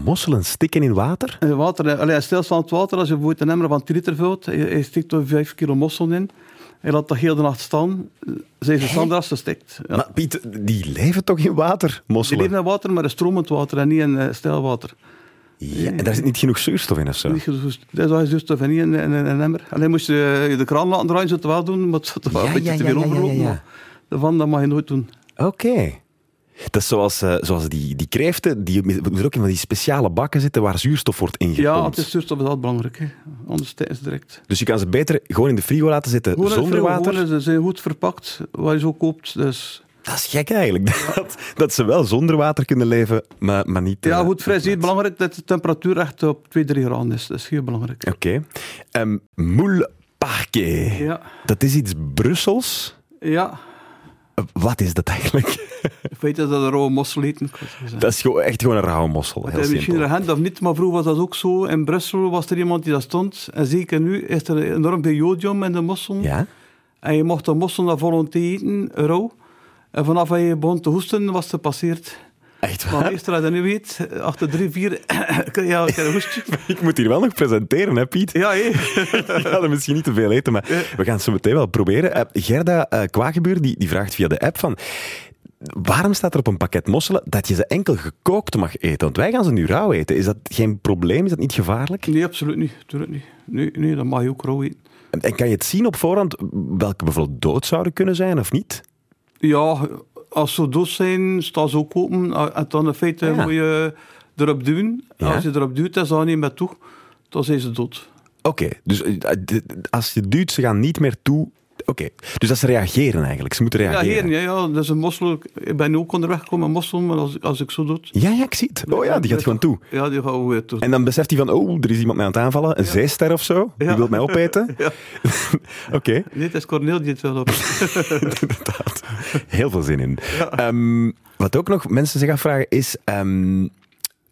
[SPEAKER 1] Mosselen stikken in water?
[SPEAKER 4] En water, eh, allee, stilstaand water, als je bijvoorbeeld een emmer van 10 liter vult, je, je stikt er 5 kilo mossel in. En laat dat heel de nacht staan. eh, Zijn ze standaard als ze stikt. Ja.
[SPEAKER 1] Maar Piet, die leven toch in water,
[SPEAKER 4] Die
[SPEAKER 1] mosselen?
[SPEAKER 4] leven in water, maar in stromend water en niet in eh, steil water.
[SPEAKER 1] Ja, en daar zit niet genoeg zuurstof in of zo.
[SPEAKER 4] Niet gezoest- Dat is dus toch niet in, in, in een emmer. Alleen moest je eh, de kraan laten draaien, zou het wel doen, maar het zou toch wel
[SPEAKER 1] Ja,
[SPEAKER 4] een beetje
[SPEAKER 1] ja,
[SPEAKER 4] te
[SPEAKER 1] ja,
[SPEAKER 4] veel
[SPEAKER 1] ja, ja,
[SPEAKER 4] overlopen.
[SPEAKER 1] ja.
[SPEAKER 4] maar Daarvan, dat mag je nooit doen.
[SPEAKER 1] Oké. Dat is zoals, eh, zoals die, die kreeften, die moeten ook in van die speciale bakken zitten waar zuurstof wordt
[SPEAKER 4] Ja,
[SPEAKER 1] ingepompt.
[SPEAKER 4] het is zuurstof is altijd belangrijk. hè. Anders tijdens direct.
[SPEAKER 1] Dus je kan ze beter gewoon in de frigo laten zitten
[SPEAKER 4] Gewoon uit
[SPEAKER 1] zonder
[SPEAKER 4] Vreuwen,
[SPEAKER 1] water.
[SPEAKER 4] gewoon, ze zijn goed verpakt, wat je zo koopt. Dus.
[SPEAKER 1] Dat is gek eigenlijk. Dat, dat ze wel zonder water kunnen leven, maar, maar niet... eh,
[SPEAKER 4] Ja, goed, vrij
[SPEAKER 1] niet
[SPEAKER 4] zeer
[SPEAKER 1] met-
[SPEAKER 4] belangrijk dat de temperatuur echt op 2, 3 graden is. Dat is heel belangrijk.
[SPEAKER 1] Oké. Ehm, moule parquet.
[SPEAKER 4] Ja,
[SPEAKER 1] Dat is iets Brussels.
[SPEAKER 4] ja.
[SPEAKER 1] Eh, Wat is dat eigenlijk?
[SPEAKER 4] Ik weet dat dat een rauwe mossel eten. ik wou het zeggen.
[SPEAKER 1] Dat is gewoon, echt gewoon een rauwe mossel.
[SPEAKER 4] Het
[SPEAKER 1] Heel
[SPEAKER 4] is misschien
[SPEAKER 1] simpel.
[SPEAKER 4] regent of niet, maar vroeger was dat ook zo. In Brussel was er iemand die dat stond. En zeker nu is er enorm veel jodium in de mossel.
[SPEAKER 1] Ja?
[SPEAKER 4] En je mocht de mossel naar volonté eten, rauw. En vanaf dat je begon te hoesten, was het gepasseerd.
[SPEAKER 1] Echt waar?
[SPEAKER 4] Maar meestal dat je dat nu weet, achter drie, vier, krijg je elke keer een hoestje.
[SPEAKER 1] Ik moet hier wel nog presenteren, hè Piet?
[SPEAKER 4] Ja, hé.
[SPEAKER 1] We hadden misschien niet te veel eten, maar we gaan het zo meteen wel proberen. Eh, Gerda eh Kwagebuur die, die vraagt via de app van... waarom staat er op een pakket mosselen dat je ze enkel gekookt mag eten? Want wij gaan ze nu rauw eten. Is dat geen probleem? Is dat niet gevaarlijk?
[SPEAKER 4] Nee, absoluut niet. Tuurlijk niet. Nee, nee, dat mag je ook rauw eten.
[SPEAKER 1] En- En kan je het zien op voorhand welke bijvoorbeeld dood zouden kunnen zijn of niet?
[SPEAKER 4] Ja, als ze dood zijn, staan ze ook open. En dan in feite
[SPEAKER 1] Ja.
[SPEAKER 4] moet je erop duwen.
[SPEAKER 1] Ja.
[SPEAKER 4] Als je erop duwt en ze gaan niet meer toe, dan zijn ze dood.
[SPEAKER 1] Oké, dus eh, d- d- als je duwt, ze gaan niet meer toe. Oké, dus dat ze reageren eigenlijk. Ze moeten
[SPEAKER 4] Ja,
[SPEAKER 1] reageren.
[SPEAKER 4] heren, ja, ja, dat is een mossel. Ik ben ook onderweg gekomen met mossel, maar als, als ik zo dood...
[SPEAKER 1] Ja, ja, ik zie het. Oh ja, die gaat gewoon toe.
[SPEAKER 4] Ja, die gaan weer toe.
[SPEAKER 1] En dan beseft hij van, oh, er is iemand mij aan het aanvallen. Een zeester of zo. Die
[SPEAKER 4] Ja.
[SPEAKER 1] wil mij opeten.
[SPEAKER 4] Ja.
[SPEAKER 1] Oké,
[SPEAKER 4] Nee, het is Corneel die het wel op.
[SPEAKER 1] inderdaad. Heel veel zin in. Ehm, wat ook nog mensen zich afvragen is... ehm,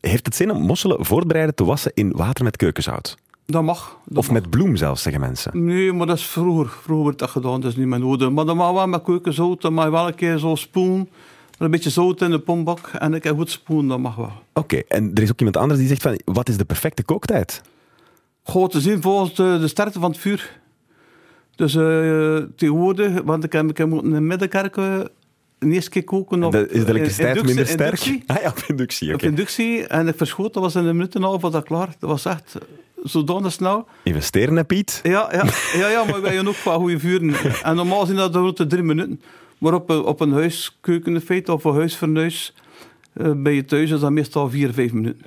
[SPEAKER 1] heeft het zin om mosselen voor te bereiden te wassen in water met keukenzout?
[SPEAKER 4] Dat mag. Dat
[SPEAKER 1] Of met bloem zelfs, zeggen mensen.
[SPEAKER 4] Nee, maar dat is vroeger. Vroeger werd dat gedaan, dat is niet meer nodig. Maar dan mag wel met keukenzout, dan mag je wel een keer zo spoelen. Met een beetje zout in de pombak en een keer goed spoelen, dat mag wel.
[SPEAKER 1] Oké, en er is ook iemand anders die zegt van... Wat is de perfecte kooktijd?
[SPEAKER 4] Gewoon te zien volgens eh, de, de sterkte van het vuur. Dus eh, tegenwoordig, want ik heb, ik heb moeten in Middenkerk eh, een eerste keer koken op
[SPEAKER 1] De- is de elektriciteit
[SPEAKER 4] Eh, inductie-
[SPEAKER 1] minder sterk?
[SPEAKER 4] inductie.
[SPEAKER 1] Ah ja, op inductie.
[SPEAKER 4] Op
[SPEAKER 1] oké.
[SPEAKER 4] inductie. En ik verschoot, dat was in een minuut en een half was dat klaar. Dat was echt zodanig snel.
[SPEAKER 1] Investeren, hè, Piet?
[SPEAKER 4] Ja, ja, ja, ja maar wij hebben ook qua goede vuren. En normaal zijn dat de rond de drie minuten. Maar op, een- op een huiskeuken in feite, of een huisfornuis, eh, bij je thuis is dat meestal vier, vijf minuten.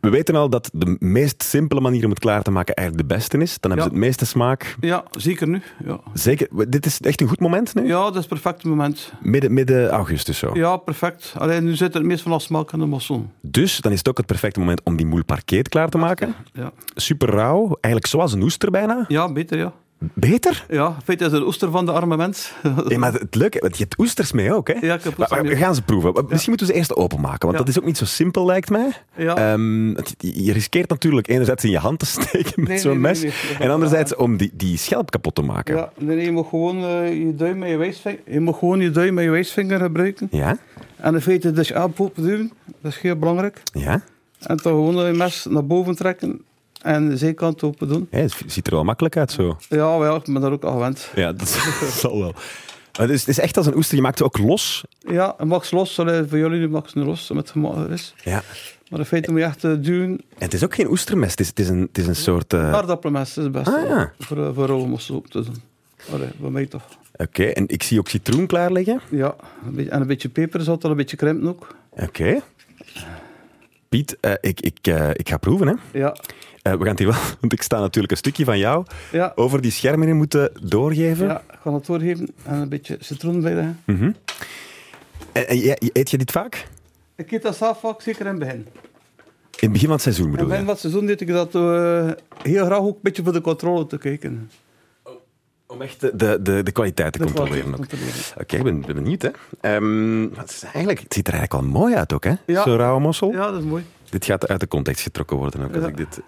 [SPEAKER 1] We weten al dat de meest simpele manier om het klaar te maken eigenlijk de beste is. Dan hebben
[SPEAKER 4] Ja.
[SPEAKER 1] ze het meeste smaak.
[SPEAKER 4] Ja, zeker nu. Ja,
[SPEAKER 1] Zeker, dit is echt een goed moment nu?
[SPEAKER 4] ja dat is het perfecte moment.
[SPEAKER 1] Midden, midden augustus zo.
[SPEAKER 4] Ja, perfect. Alleen nu zit er het meest van smaak aan de mossel.
[SPEAKER 1] Dus dan is het ook het perfecte moment om die moule parquet klaar te maken.
[SPEAKER 4] Ja.
[SPEAKER 1] Super rauw, eigenlijk zoals een oester bijna.
[SPEAKER 4] ja, beter ja.
[SPEAKER 1] Beter?
[SPEAKER 4] Ja, in feite is het de oester van de arme mens.
[SPEAKER 1] Ja, maar het leuke, want je hebt oesters mee ook, hè?
[SPEAKER 4] Ja, ik heb
[SPEAKER 1] Maar-
[SPEAKER 4] oesters
[SPEAKER 1] maar
[SPEAKER 4] mee.
[SPEAKER 1] We gaan ze proeven. Maar Misschien moeten we ze eerst openmaken, want
[SPEAKER 4] Ja. Ah.
[SPEAKER 1] dat is ook niet zo simpel, lijkt mij.
[SPEAKER 4] Ja.
[SPEAKER 1] Ehm, het- je riskeert natuurlijk enerzijds in je hand te steken met
[SPEAKER 4] Nee,
[SPEAKER 1] zo'n
[SPEAKER 4] nee, nee,
[SPEAKER 1] mes,
[SPEAKER 4] nee, nee. Dat
[SPEAKER 1] en
[SPEAKER 4] gaat-
[SPEAKER 1] anderzijds om die, die schelp kapot te maken.
[SPEAKER 4] Ja, nee, nee, je moet gewoon eh, je duim met je wijsvinger. Je moet gewoon je duim met je wijsvinger gebruiken.
[SPEAKER 1] Ja?
[SPEAKER 4] En in feite de schaap open doen. Dat is heel belangrijk.
[SPEAKER 1] Ja?
[SPEAKER 4] En dan gewoon eh, je mes naar boven trekken en de zijkant open doen.
[SPEAKER 1] Hé, het ziet er wel makkelijk uit zo.
[SPEAKER 4] Ja, wel, ik ben daar ook al gewend.
[SPEAKER 1] Ja, dat zal wel. Maar dus, het is echt als een oester. Je maakt ze ook los.
[SPEAKER 4] Ja, een max los, allee, voor jullie nu max nu los, met gemakkelijk is.
[SPEAKER 1] Ja.
[SPEAKER 4] Maar in feite moet je echt eh, duwen.
[SPEAKER 1] En het is ook geen oestermes. Het is, het is, een, het is een soort... eh,
[SPEAKER 4] Ah. Aardappelmes is het beste
[SPEAKER 1] Ah, ja.
[SPEAKER 4] voor, eh, voor rolmossel op te doen. Allee, voor mij toch.
[SPEAKER 1] Oké, en ik zie ook citroen klaar liggen.
[SPEAKER 4] Ja, een beetje- en een beetje peper zat er, een beetje krimpen ook.
[SPEAKER 1] Oké. Piet, eh, ik, ik, eh, ik ga proeven, hè.
[SPEAKER 4] Ja,
[SPEAKER 1] Eh, we gaan het hier wel... Want ik sta natuurlijk een stukje van jou
[SPEAKER 4] Ja.
[SPEAKER 1] over die schermen in moeten doorgeven.
[SPEAKER 4] ja, ik ga het doorgeven en een beetje citroen bijleggen.
[SPEAKER 1] En, en jij- eet je dit vaak?
[SPEAKER 4] Ik eet dat zelf vaak, zeker in het begin.
[SPEAKER 1] In het begin van het seizoen,
[SPEAKER 4] In het
[SPEAKER 1] bedoel
[SPEAKER 4] begin
[SPEAKER 1] je?
[SPEAKER 4] van het seizoen deed ik dat eh, heel graag ook een beetje voor de controle te kijken.
[SPEAKER 1] Om echt de, de, de, de kwaliteit te
[SPEAKER 4] De
[SPEAKER 1] controleren.
[SPEAKER 4] kwaliteit te
[SPEAKER 1] ook.
[SPEAKER 4] controleren.
[SPEAKER 1] Oké, ik ben, ben benieuwd, hè. Ehm, het, is eigenlijk, het ziet er eigenlijk al mooi uit ook, hè?
[SPEAKER 4] Ja.
[SPEAKER 1] Zo'n rauwe mossel.
[SPEAKER 4] Ja, dat is mooi.
[SPEAKER 1] Dit gaat uit de context getrokken worden ook als
[SPEAKER 4] Ja.
[SPEAKER 1] ik dit.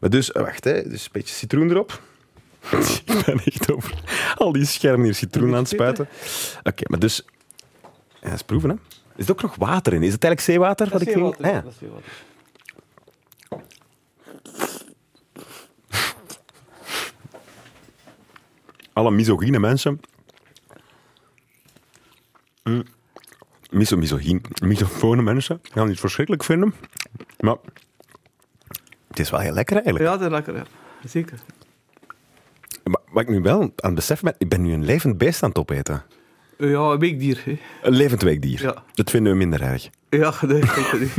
[SPEAKER 1] Maar dus, eh, wacht, hè. dus een beetje citroen erop. ik ben echt over al die schermen hier citroen aan het spuiten. Oké, maar dus. Ja, eens proeven, hè? Is er ook nog water in? Is het eigenlijk zeewater?
[SPEAKER 4] Dat
[SPEAKER 1] wat
[SPEAKER 4] is
[SPEAKER 1] ik
[SPEAKER 4] heel
[SPEAKER 1] drink?
[SPEAKER 4] wat.
[SPEAKER 1] Ah,
[SPEAKER 4] ja,
[SPEAKER 1] ja.
[SPEAKER 4] dat is heel wat.
[SPEAKER 1] Alle misogyne mensen. Mm. Miso, misogyn, misofone mensen gaan het verschrikkelijk vinden. Maar het is wel heel lekker eigenlijk.
[SPEAKER 4] Ja, dat is lekker, ja. Zeker.
[SPEAKER 1] Maar wat ik nu wel aan het beseffen ben, ik ben nu een levend beest aan het opeten.
[SPEAKER 4] Ja, een weekdier. Hè.
[SPEAKER 1] Een levend weekdier.
[SPEAKER 4] Ja.
[SPEAKER 1] Dat vinden we minder erg.
[SPEAKER 4] Ja, dat is zeker niet.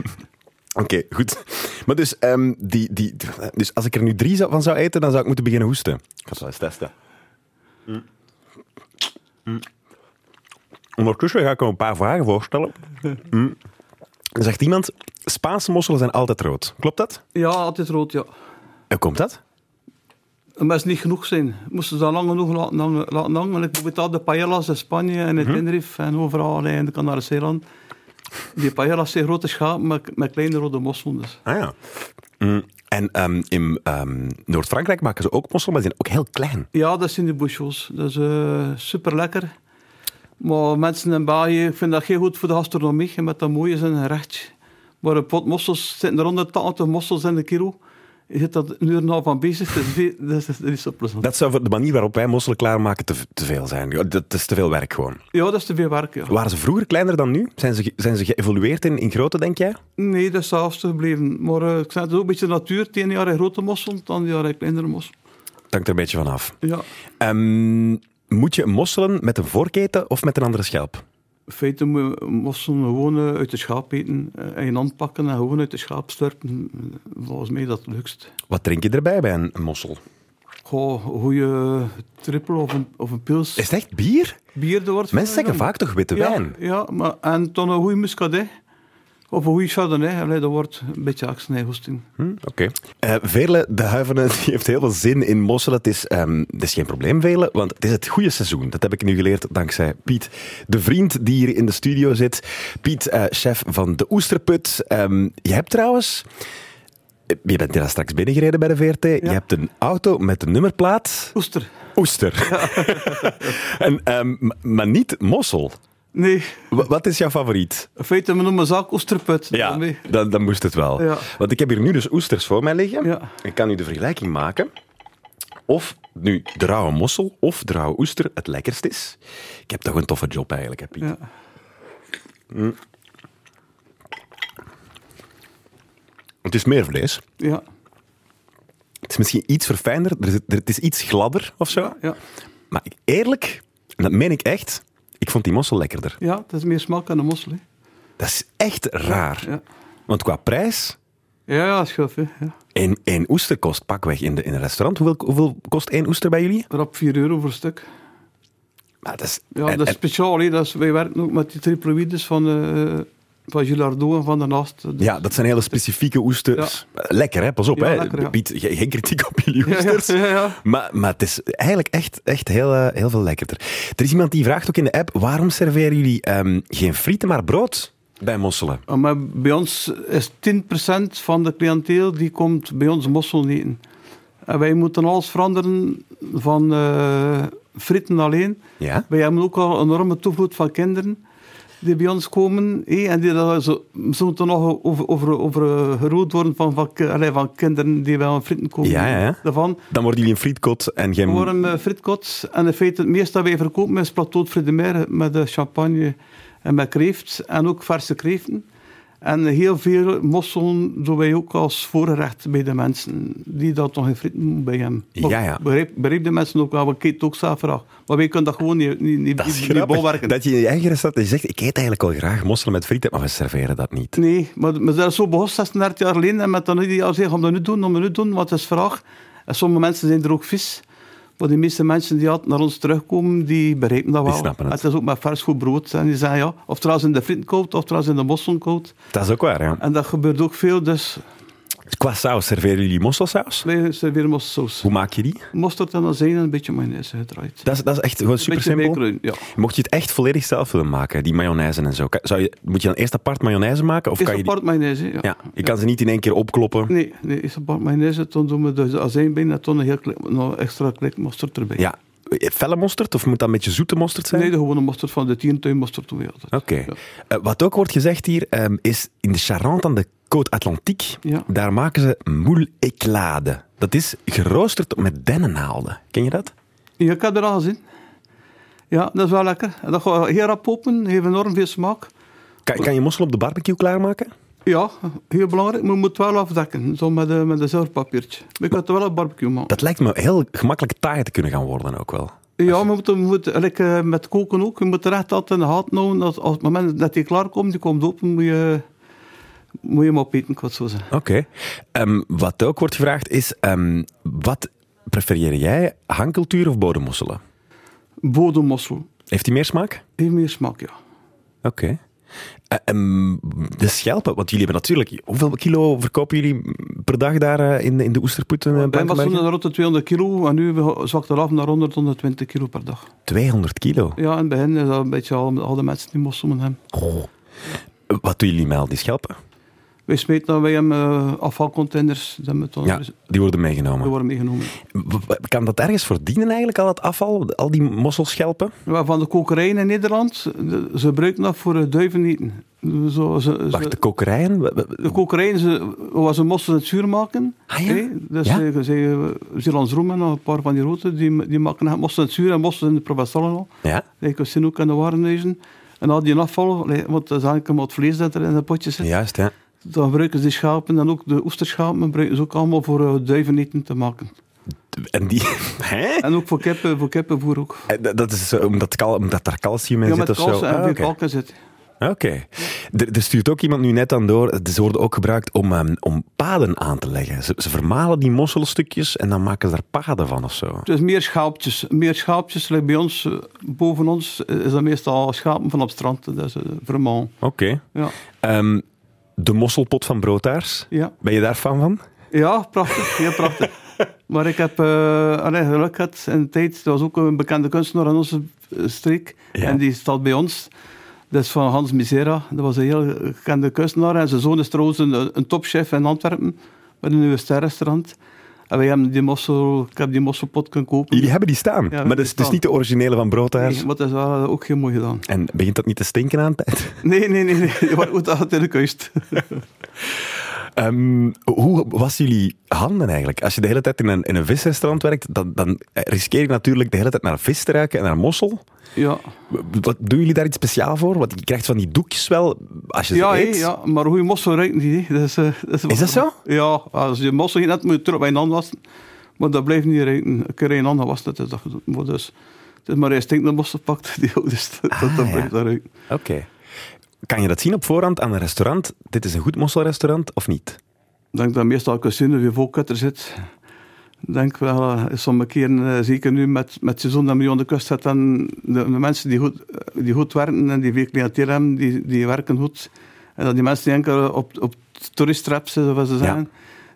[SPEAKER 1] Oké, goed. Maar dus, ehm, die, die, dus als ik er nu drie zou- van zou eten, dan zou ik moeten beginnen hoesten. Ik ga het wel eens testen. Mm. Ondertussen ga ik hem een paar vragen voorstellen. Mm. Er Zegt iemand, Spaanse mosselen zijn altijd rood. Klopt dat?
[SPEAKER 4] Ja, altijd rood, ja.
[SPEAKER 1] Hoe Eh, komt dat?
[SPEAKER 4] Maar het is niet genoeg zijn. Moesten ze dat lang genoeg laten hangen. Laten hangen. Want Ik betaal de paellas in Spanje en in Tenerife en overal allee, in de Canarische eilanden. Die paellas zijn grote schapen met, met kleine rode mosselen. Dus.
[SPEAKER 1] Ah ja. Mm. En ehm, in ehm, Noord-Frankrijk maken ze ook mosselen, maar die zijn ook heel klein.
[SPEAKER 4] Ja, dat zijn de bushels. Dat is super lekker. Maar mensen in België, ik vind dat geen goed voor de gastronomie. Je met dat mooie zijn een rechtje. Maar een pot mossels zitten er 180 mossels in de kilo. Je zit dat een uur en een half aan bezig. Dat is, veel- dat is, dat is zo plezant.
[SPEAKER 1] Dat zou voor de manier waarop wij mosselen klaarmaken te, te veel zijn. Ja, Dat is te veel werk gewoon.
[SPEAKER 4] Ja, dat is te veel werk. Ja.
[SPEAKER 1] Waren ze vroeger kleiner dan nu? Zijn ze, ge- zijn ze geëvolueerd in, in grootte, denk jij?
[SPEAKER 4] Nee, dat is hetzelfde gebleven. Maar eh, ik zei het ook een beetje de natuur. Het ene jaar een grote mossel, het andere jaar een kleinere mossel.
[SPEAKER 1] Het hangt er een beetje van af.
[SPEAKER 4] Ja,
[SPEAKER 1] Ehm, moet je mosselen met een voorketen of met een andere schelp?
[SPEAKER 4] in feite moet je mosselen gewoon eh, uit de schaap eten. eh, In je hand pakken en gewoon uit de schaap slurpen. Volgens mij dat het leukst.
[SPEAKER 1] Wat drink je erbij bij een mossel?
[SPEAKER 4] Goh, een goede trippel of een, of een pils.
[SPEAKER 1] Is het echt bier?
[SPEAKER 4] Bier, dat wordt
[SPEAKER 1] Mensen zeggen
[SPEAKER 4] genomen.
[SPEAKER 1] vaak toch witte
[SPEAKER 4] ja,
[SPEAKER 1] wijn?
[SPEAKER 4] Ja, maar, en dan een goede muscadet. Of een goede chardonnay. Allee, dat wordt een beetje actionijgoesting.
[SPEAKER 1] Hm, Oké. Eh, Veerle de Huivenen die heeft heel veel zin in mosselen. Het is, ehm, het is geen probleem, Veerle, want het is het goede seizoen. Dat heb ik nu geleerd dankzij Piet, de vriend die hier in de studio zit. Piet, eh, chef van de Oesterput. Ehm, je hebt trouwens... eh, Je bent daar straks binnengereden bij de VRT. Je hebt een auto met een nummerplaat.
[SPEAKER 4] Oester.
[SPEAKER 1] Oester. en, ehm, m- maar niet mossel.
[SPEAKER 4] Nee,
[SPEAKER 1] W- wat is jouw favoriet?
[SPEAKER 4] in feite, we noemen zaak oesterput.
[SPEAKER 1] Ja,
[SPEAKER 4] Daarmee.
[SPEAKER 1] dan, dan moest het wel.
[SPEAKER 4] Ja.
[SPEAKER 1] Want ik heb hier nu dus oesters voor mij liggen.
[SPEAKER 4] Ja.
[SPEAKER 1] Ik kan nu de vergelijking maken. Of nu de rauwe mossel of de rauwe oester het lekkerst is. Ik heb toch een toffe job eigenlijk, hè, Piet.
[SPEAKER 4] Ja.
[SPEAKER 1] Het is meer vlees.
[SPEAKER 4] Ja,
[SPEAKER 1] Het is misschien iets verfijnder. Er zit- er- Het is iets gladder of zo.
[SPEAKER 4] ja.
[SPEAKER 1] Maar ik- eerlijk, en dat meen ik echt, ik vond die mossel lekkerder.
[SPEAKER 4] ja, dat is meer smaak aan de mossel. hè.
[SPEAKER 1] Dat is echt raar.
[SPEAKER 4] Ja,
[SPEAKER 1] Want qua prijs,
[SPEAKER 4] ja, ja schuf. Hè. Ja.
[SPEAKER 1] één, één oester kost pakweg in, de, in een restaurant. Hoeveel, hoeveel kost één oester bij jullie?
[SPEAKER 4] Rap 4 euro voor stuk.
[SPEAKER 1] Maar dat is,
[SPEAKER 4] Ja,
[SPEAKER 1] en-
[SPEAKER 4] dat is
[SPEAKER 1] en-
[SPEAKER 4] speciaal. Hè. Dat is, wij werken ook met die triploïdes van, eh van Gilardo en van de Naast. Dus-
[SPEAKER 1] Ja, dat zijn hele specifieke oesters. Eh, Lekker, hè? Pas op,
[SPEAKER 4] Ja,
[SPEAKER 1] hè?
[SPEAKER 4] lekker, ja.
[SPEAKER 1] Piet, ge- geen kritiek op jullie
[SPEAKER 4] Ja, ja,
[SPEAKER 1] oesters.
[SPEAKER 4] ja, ja.
[SPEAKER 1] Maar, maar het is eigenlijk echt, echt heel, eh, heel veel lekkerder. Er is iemand die vraagt ook in de app, waarom serveren jullie ehm, geen frieten, maar brood bij mosselen?
[SPEAKER 4] Ah, Maar bij ons is 10% van de cliënteel die komt bij ons mossel eten. En wij moeten alles veranderen van eh fritten alleen.
[SPEAKER 1] Ja?
[SPEAKER 4] Wij hebben ook al een enorme toevloed van kinderen die bij ons komen. hé, en die daar zo, zo moeten nog over, over, over geroerd worden van, van, ki- allee, van kinderen die wel aan fritten komen.
[SPEAKER 1] Ja, ja, ja.
[SPEAKER 4] Daarvan
[SPEAKER 1] Dan worden jullie een frietkot en geen...
[SPEAKER 4] worden eh, fritkots. En in feite het meeste dat wij verkopen is plateau de Frudemer met eh, champagne en met kreeft. En ook verse kreeften. En heel veel mosselen doen wij ook als voorrecht bij de mensen die dat nog in fritten moeten bij hem.
[SPEAKER 1] Ja,
[SPEAKER 4] Maar
[SPEAKER 1] ja.
[SPEAKER 4] Begrijp, begrijp de mensen ook wel, we kijken het ook zelf graag. Maar wij kunnen dat gewoon niet, niet, niet,
[SPEAKER 1] Dat is
[SPEAKER 4] niet- niet
[SPEAKER 1] grappig,
[SPEAKER 4] bolwerken.
[SPEAKER 1] dat je in je eigen restaurant dat je zegt, ik eet eigenlijk al graag mosselen met frieten, maar we serveren dat niet.
[SPEAKER 4] Nee, maar, maar dat is zo begonnen 36 jaar geleden. En met dan ieder jaar zeggen, om dat nu doen, om dat nu doen, want het is vraag. En sommige mensen zijn er ook vis. Maar de meeste mensen die altijd naar ons terugkomen, die bereiken dat wel.
[SPEAKER 1] snappen het.
[SPEAKER 4] En is ook met vers goed brood. En die zeggen, ja, of trouwens in de frietkoud, of trouwens in de mosselkoud.
[SPEAKER 1] Dat is ook waar, ja.
[SPEAKER 4] En dat gebeurt ook veel, dus
[SPEAKER 1] Qua saus, serveren jullie mosselsaus?
[SPEAKER 4] wij serveren mosterdsaus.
[SPEAKER 1] Hoe maak je die?
[SPEAKER 4] Mosterd en azijn en een beetje mayonaise gedraaid.
[SPEAKER 1] Dat is, dat is echt gewoon
[SPEAKER 4] Een
[SPEAKER 1] super
[SPEAKER 4] beetje
[SPEAKER 1] simpel.
[SPEAKER 4] bijkruin, ja.
[SPEAKER 1] Mocht je het echt volledig zelf willen maken, die mayonaise en zo, kan- zou je, moet je dan eerst apart mayonaise maken? Of
[SPEAKER 4] Is
[SPEAKER 1] kan je die-
[SPEAKER 4] apart mayonaise, ja.
[SPEAKER 1] ja, je kan ze niet in één keer opkloppen.
[SPEAKER 4] Nee, nee, is apart mayonaise. Dan doen we dus de azijn bij en dan een heel klein, nog extra klein mosterd erbij.
[SPEAKER 1] Ja, felle mosterd of moet dat een beetje zoete mosterd zijn?
[SPEAKER 4] Nee, de gewone mosterd van de tierentuin mosterd doen we altijd.
[SPEAKER 1] Oké.
[SPEAKER 4] Ja.
[SPEAKER 1] Eh, wat ook wordt gezegd hier, ehm, is in de Charente aan de Côte Atlantique,
[SPEAKER 4] Ja.
[SPEAKER 1] daar maken ze moule éclade. Dat is geroosterd met dennennaalden. Ken je dat?
[SPEAKER 4] Ja, ik heb er al gezien. Ja, dat is wel lekker. En dat gaat heel rap open, heeft enorm veel smaak.
[SPEAKER 1] Kan, kan je mossel op de barbecue klaarmaken?
[SPEAKER 4] Ja, heel belangrijk, maar je moet het wel afdekken, zo met, eh, met een zelfpapiertje. Maar je kunt het wel op barbecue maken.
[SPEAKER 1] Dat lijkt me heel gemakkelijk taai te kunnen gaan worden ook wel.
[SPEAKER 4] Ja, maar je moet, je moet eigenlijk, eh, met koken ook, je moet er echt altijd in de gaten houden. Dat als het moment dat die klaarkomt, die komt open, moet je, moet je hem opeten, ik wou het zo zeggen.
[SPEAKER 1] Oké. Ehm, wat ook wordt gevraagd is, ehm, wat prefereer jij, hangcultuur of bodemmosselen?
[SPEAKER 4] Bodemossel,
[SPEAKER 1] Heeft die meer smaak?
[SPEAKER 4] heeft meer smaak, ja.
[SPEAKER 1] Oké. Eh, ehm, de schelpen, want jullie hebben natuurlijk... Hoeveel kilo verkopen jullie per dag daar eh, in, in de oesterpoeten? eh,
[SPEAKER 4] Bij was
[SPEAKER 1] Blankenbergen?
[SPEAKER 4] toen rond de 200 kilo en nu zwakt het af naar 100, 120 kilo per dag.
[SPEAKER 1] 200 kilo.
[SPEAKER 4] Ja, en bij hen is dat een beetje al, al de mensen die mosselen hebben.
[SPEAKER 1] Wat doen jullie met al die schelpen?
[SPEAKER 4] Wij smeten dan bij hem eh, afvalcontainers. Dat moet dan
[SPEAKER 1] Ja,
[SPEAKER 4] dus-
[SPEAKER 1] die worden
[SPEAKER 4] die
[SPEAKER 1] meegenomen.
[SPEAKER 4] worden meegenomen.
[SPEAKER 1] W- w- Kan dat ergens verdienen eigenlijk, al dat afval? Al die mosselschelpen?
[SPEAKER 4] Ja, Van de kokerijen in Nederland, de- ze gebruiken dat voor eh, duiveneten. Zo, ze, ze-
[SPEAKER 1] Wacht, de kokerijen? W- w-
[SPEAKER 4] de kokerijen, ze, waar ze moesten het zuur maken.
[SPEAKER 1] Ah, ja?
[SPEAKER 4] Hé, dat is
[SPEAKER 1] Ja?
[SPEAKER 4] eh, ze, eh, Zeelands Roem en nog een paar van die roten, die, die maken moesten het zuur en moesten in de Provençalen al.
[SPEAKER 1] Ja?
[SPEAKER 4] Ik was ook aan de warenhuizen. En al die afval, allee, want dat is eigenlijk maar het vlees dat er in de potjes zit.
[SPEAKER 1] Juist, ja.
[SPEAKER 4] Dan gebruiken ze die schapen en ook de oesterschapen gebruiken ze ook allemaal voor eh, duiveneten te maken.
[SPEAKER 1] En die... Hè?
[SPEAKER 4] En ook voor kippen, voor kippenvoer ook.
[SPEAKER 1] Eh, dat- Dat is eh, omdat, kal- omdat daar calcium in
[SPEAKER 4] Ja,
[SPEAKER 1] zit
[SPEAKER 4] met
[SPEAKER 1] of zo?
[SPEAKER 4] kalsen en
[SPEAKER 1] Ah,
[SPEAKER 4] veel
[SPEAKER 1] oké. Ah,
[SPEAKER 4] kalken zit.
[SPEAKER 1] Oké. Er, er stuurt ook iemand nu net aan door. Ze worden ook gebruikt om, ehm, om paden aan te leggen. Ze, ze vermalen die mosselstukjes en dan maken ze daar paden van of zo.
[SPEAKER 4] Het is meer schaapjes. Meer schaapjes. like bij ons, eh, boven ons, eh, is dat meestal schapen van op het strand. Dat is eh, vermaal.
[SPEAKER 1] Oké.
[SPEAKER 4] Ja.
[SPEAKER 1] Ehm, de mosselpot van Broodtaars.
[SPEAKER 4] Ja.
[SPEAKER 1] Ben je daar fan van?
[SPEAKER 4] ja, prachtig. Ja, prachtig. Maar ik heb eh allee, geluk gehad in de tijd. Er was ook een bekende kunstenaar in onze eh, streek.
[SPEAKER 1] Ja.
[SPEAKER 4] En die staat bij ons. Dat is van Hans Misera. Dat was een heel bekende kunstenaar. En zijn zoon is trouwens een, een topchef in Antwerpen. Met een nieuwe sterrenstrand. En wij hebben die mossel, ik heb die mosselpot kunnen kopen.
[SPEAKER 1] Jullie hebben die staan.
[SPEAKER 4] die
[SPEAKER 1] maar dat is,
[SPEAKER 4] staan.
[SPEAKER 1] dus niet de originele van Broodtaars.
[SPEAKER 4] Nee, maar dat is wel ook heel mooi gedaan.
[SPEAKER 1] En begint dat niet te stinken aan tijd?
[SPEAKER 4] Nee, nee, nee. nee. Je wordt goed uit in de kust.
[SPEAKER 1] Ehm, hoe was jullie handen eigenlijk? Als je de hele tijd in een, in een visrestaurant werkt, dan, dan riskeer je natuurlijk de hele tijd naar vis te ruiken en naar mossel.
[SPEAKER 4] Ja,
[SPEAKER 1] W- Wat, doen jullie daar iets speciaal voor? Want je krijgt van die doekjes wel als je ze
[SPEAKER 4] ja, hé,
[SPEAKER 1] eet.
[SPEAKER 4] ja, maar hoe je mossel ruikt niet. hè. Dat is, eh,
[SPEAKER 1] Is dat zo?
[SPEAKER 4] Ja, als je mossel geen hebt, moet je terug bij een hand wassen. Maar dat blijft niet ruiken. Een keer in een hand was dat is dat goed. Maar dus, het is maar eens stinkende mossel pakt, die ook, dus dat, dat
[SPEAKER 1] Ah, ja.
[SPEAKER 4] blijft dat ruiken.
[SPEAKER 1] Oké. Kan je dat zien op voorhand aan een restaurant? Dit is een goed mosselrestaurant of niet?
[SPEAKER 4] Ik denk dat meestal casino weer vol kutter zit. Ik denk wel, eh, sommige keren, eh, zeker nu met, met het seizoen dat we nu aan de kust zit, dan de, de mensen die goed, eh, die goed werken en die veel cliënteel hebben, die, die werken goed. En dat die mensen die enkel op, op toeristrap zitten, zoals ze zeggen,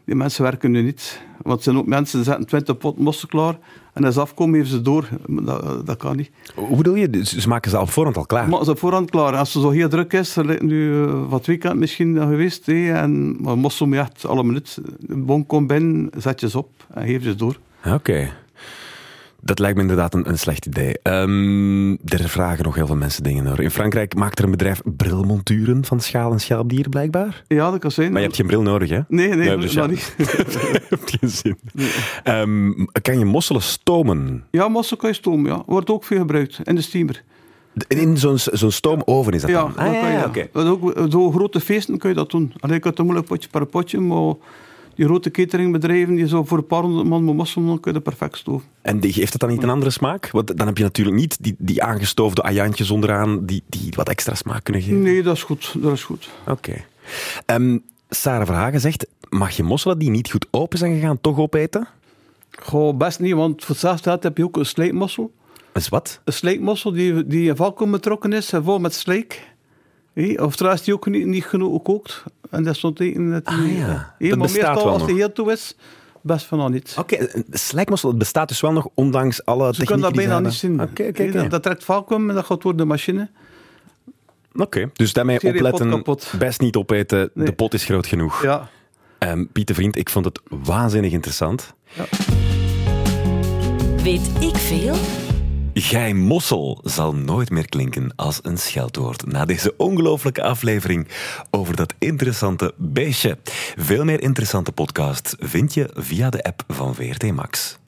[SPEAKER 4] die mensen werken nu niet. Want het zijn ook mensen die zetten 20 pot mossen klaar en als ze afkomen, even ze door. Maar Dat, dat kan niet.
[SPEAKER 1] Hoe bedoel je? Dus Ze maken ze al op voorhand al klaar.
[SPEAKER 4] Maar als het voorhand klaar, als het zo heel druk is, er lijkt nu eh, wat weekend misschien eh, geweest, hè, en, maar mossel moet je echt alle minuut. De bon komt binnen, zet je ze op en geef je ze door.
[SPEAKER 1] Ah, Oké. Dat lijkt me inderdaad een, een slecht idee. Ehm, er vragen nog heel veel mensen dingen hoor. In Frankrijk maakt er een bedrijf brilmonturen van schaal- en schelpdier blijkbaar.
[SPEAKER 4] Ja, dat kan zijn.
[SPEAKER 1] Maar je hebt geen bril nodig, hè?
[SPEAKER 4] Nee, nee,
[SPEAKER 1] Nee,
[SPEAKER 4] nee
[SPEAKER 1] dus
[SPEAKER 4] dat
[SPEAKER 1] ja.
[SPEAKER 4] niet.
[SPEAKER 1] Heeft geen zin. Ehm, kan je mosselen stomen?
[SPEAKER 4] Ja, mossel kan je stomen, ja. Wordt ook veel gebruikt, in de steamer.
[SPEAKER 1] In zo'n zo'n stoomoven is dat
[SPEAKER 4] Ja,
[SPEAKER 1] dan?
[SPEAKER 4] dat kan je.
[SPEAKER 1] Ah, oké.
[SPEAKER 4] Dat ook, zo grote feesten kun je dat doen. Alleen ik had een moeilijk potje per potje, maar die grote cateringbedrijven die zo voor een paar honderd man met mossel doen, kun je dat perfect stomen.
[SPEAKER 1] En die- geeft dat dan niet een andere smaak? Want dan heb je natuurlijk niet die, die aangestoofde ajantjes onderaan die, die wat extra smaak kunnen geven.
[SPEAKER 4] Nee, dat is goed, dat is goed.
[SPEAKER 1] Oké. Ehm, Sarah Verhagen zegt, mag je mosselen die niet goed open zijn gegaan toch opeten?
[SPEAKER 4] Goh, best niet, want voor hetzelfde geld heb je ook een slijtmossel.
[SPEAKER 1] Is wat?
[SPEAKER 4] een slijkmossel die, die in valkom betrokken is, en vol met slijk. Hé, Of trouwens die ook niet, niet genoeg gekookt. En dat stond tegen het.
[SPEAKER 1] Ah ja,
[SPEAKER 4] Hé,
[SPEAKER 1] dat
[SPEAKER 4] maar
[SPEAKER 1] bestaat
[SPEAKER 4] meestal
[SPEAKER 1] wel
[SPEAKER 4] als die
[SPEAKER 1] nog. Ah,
[SPEAKER 4] heel toe is, best van al niet.
[SPEAKER 1] Oké, een slijkmossel dat bestaat dus wel nog, ondanks alle
[SPEAKER 4] Je kan
[SPEAKER 1] technieken
[SPEAKER 4] dat
[SPEAKER 1] die Ah, ze
[SPEAKER 4] bijna niet zien.
[SPEAKER 1] hebben. Oké, oké,
[SPEAKER 4] Hé,
[SPEAKER 1] oké.
[SPEAKER 4] Dat, dat trekt valkom en dat gaat door de machine.
[SPEAKER 1] Oké, dus daarmee
[SPEAKER 4] Serie pot
[SPEAKER 1] opletten,
[SPEAKER 4] kapot.
[SPEAKER 1] best niet opeten, de
[SPEAKER 4] Nee.
[SPEAKER 1] pot is groot genoeg.
[SPEAKER 4] Ja.
[SPEAKER 1] Ehm, Pieter Vriend, ik vond het waanzinnig interessant.
[SPEAKER 2] Weet ik veel?
[SPEAKER 1] Gij mossel zal nooit meer klinken als een scheldwoord na deze ongelooflijke aflevering over dat interessante beestje. Veel meer interessante podcasts vind je via de app van VRT Max.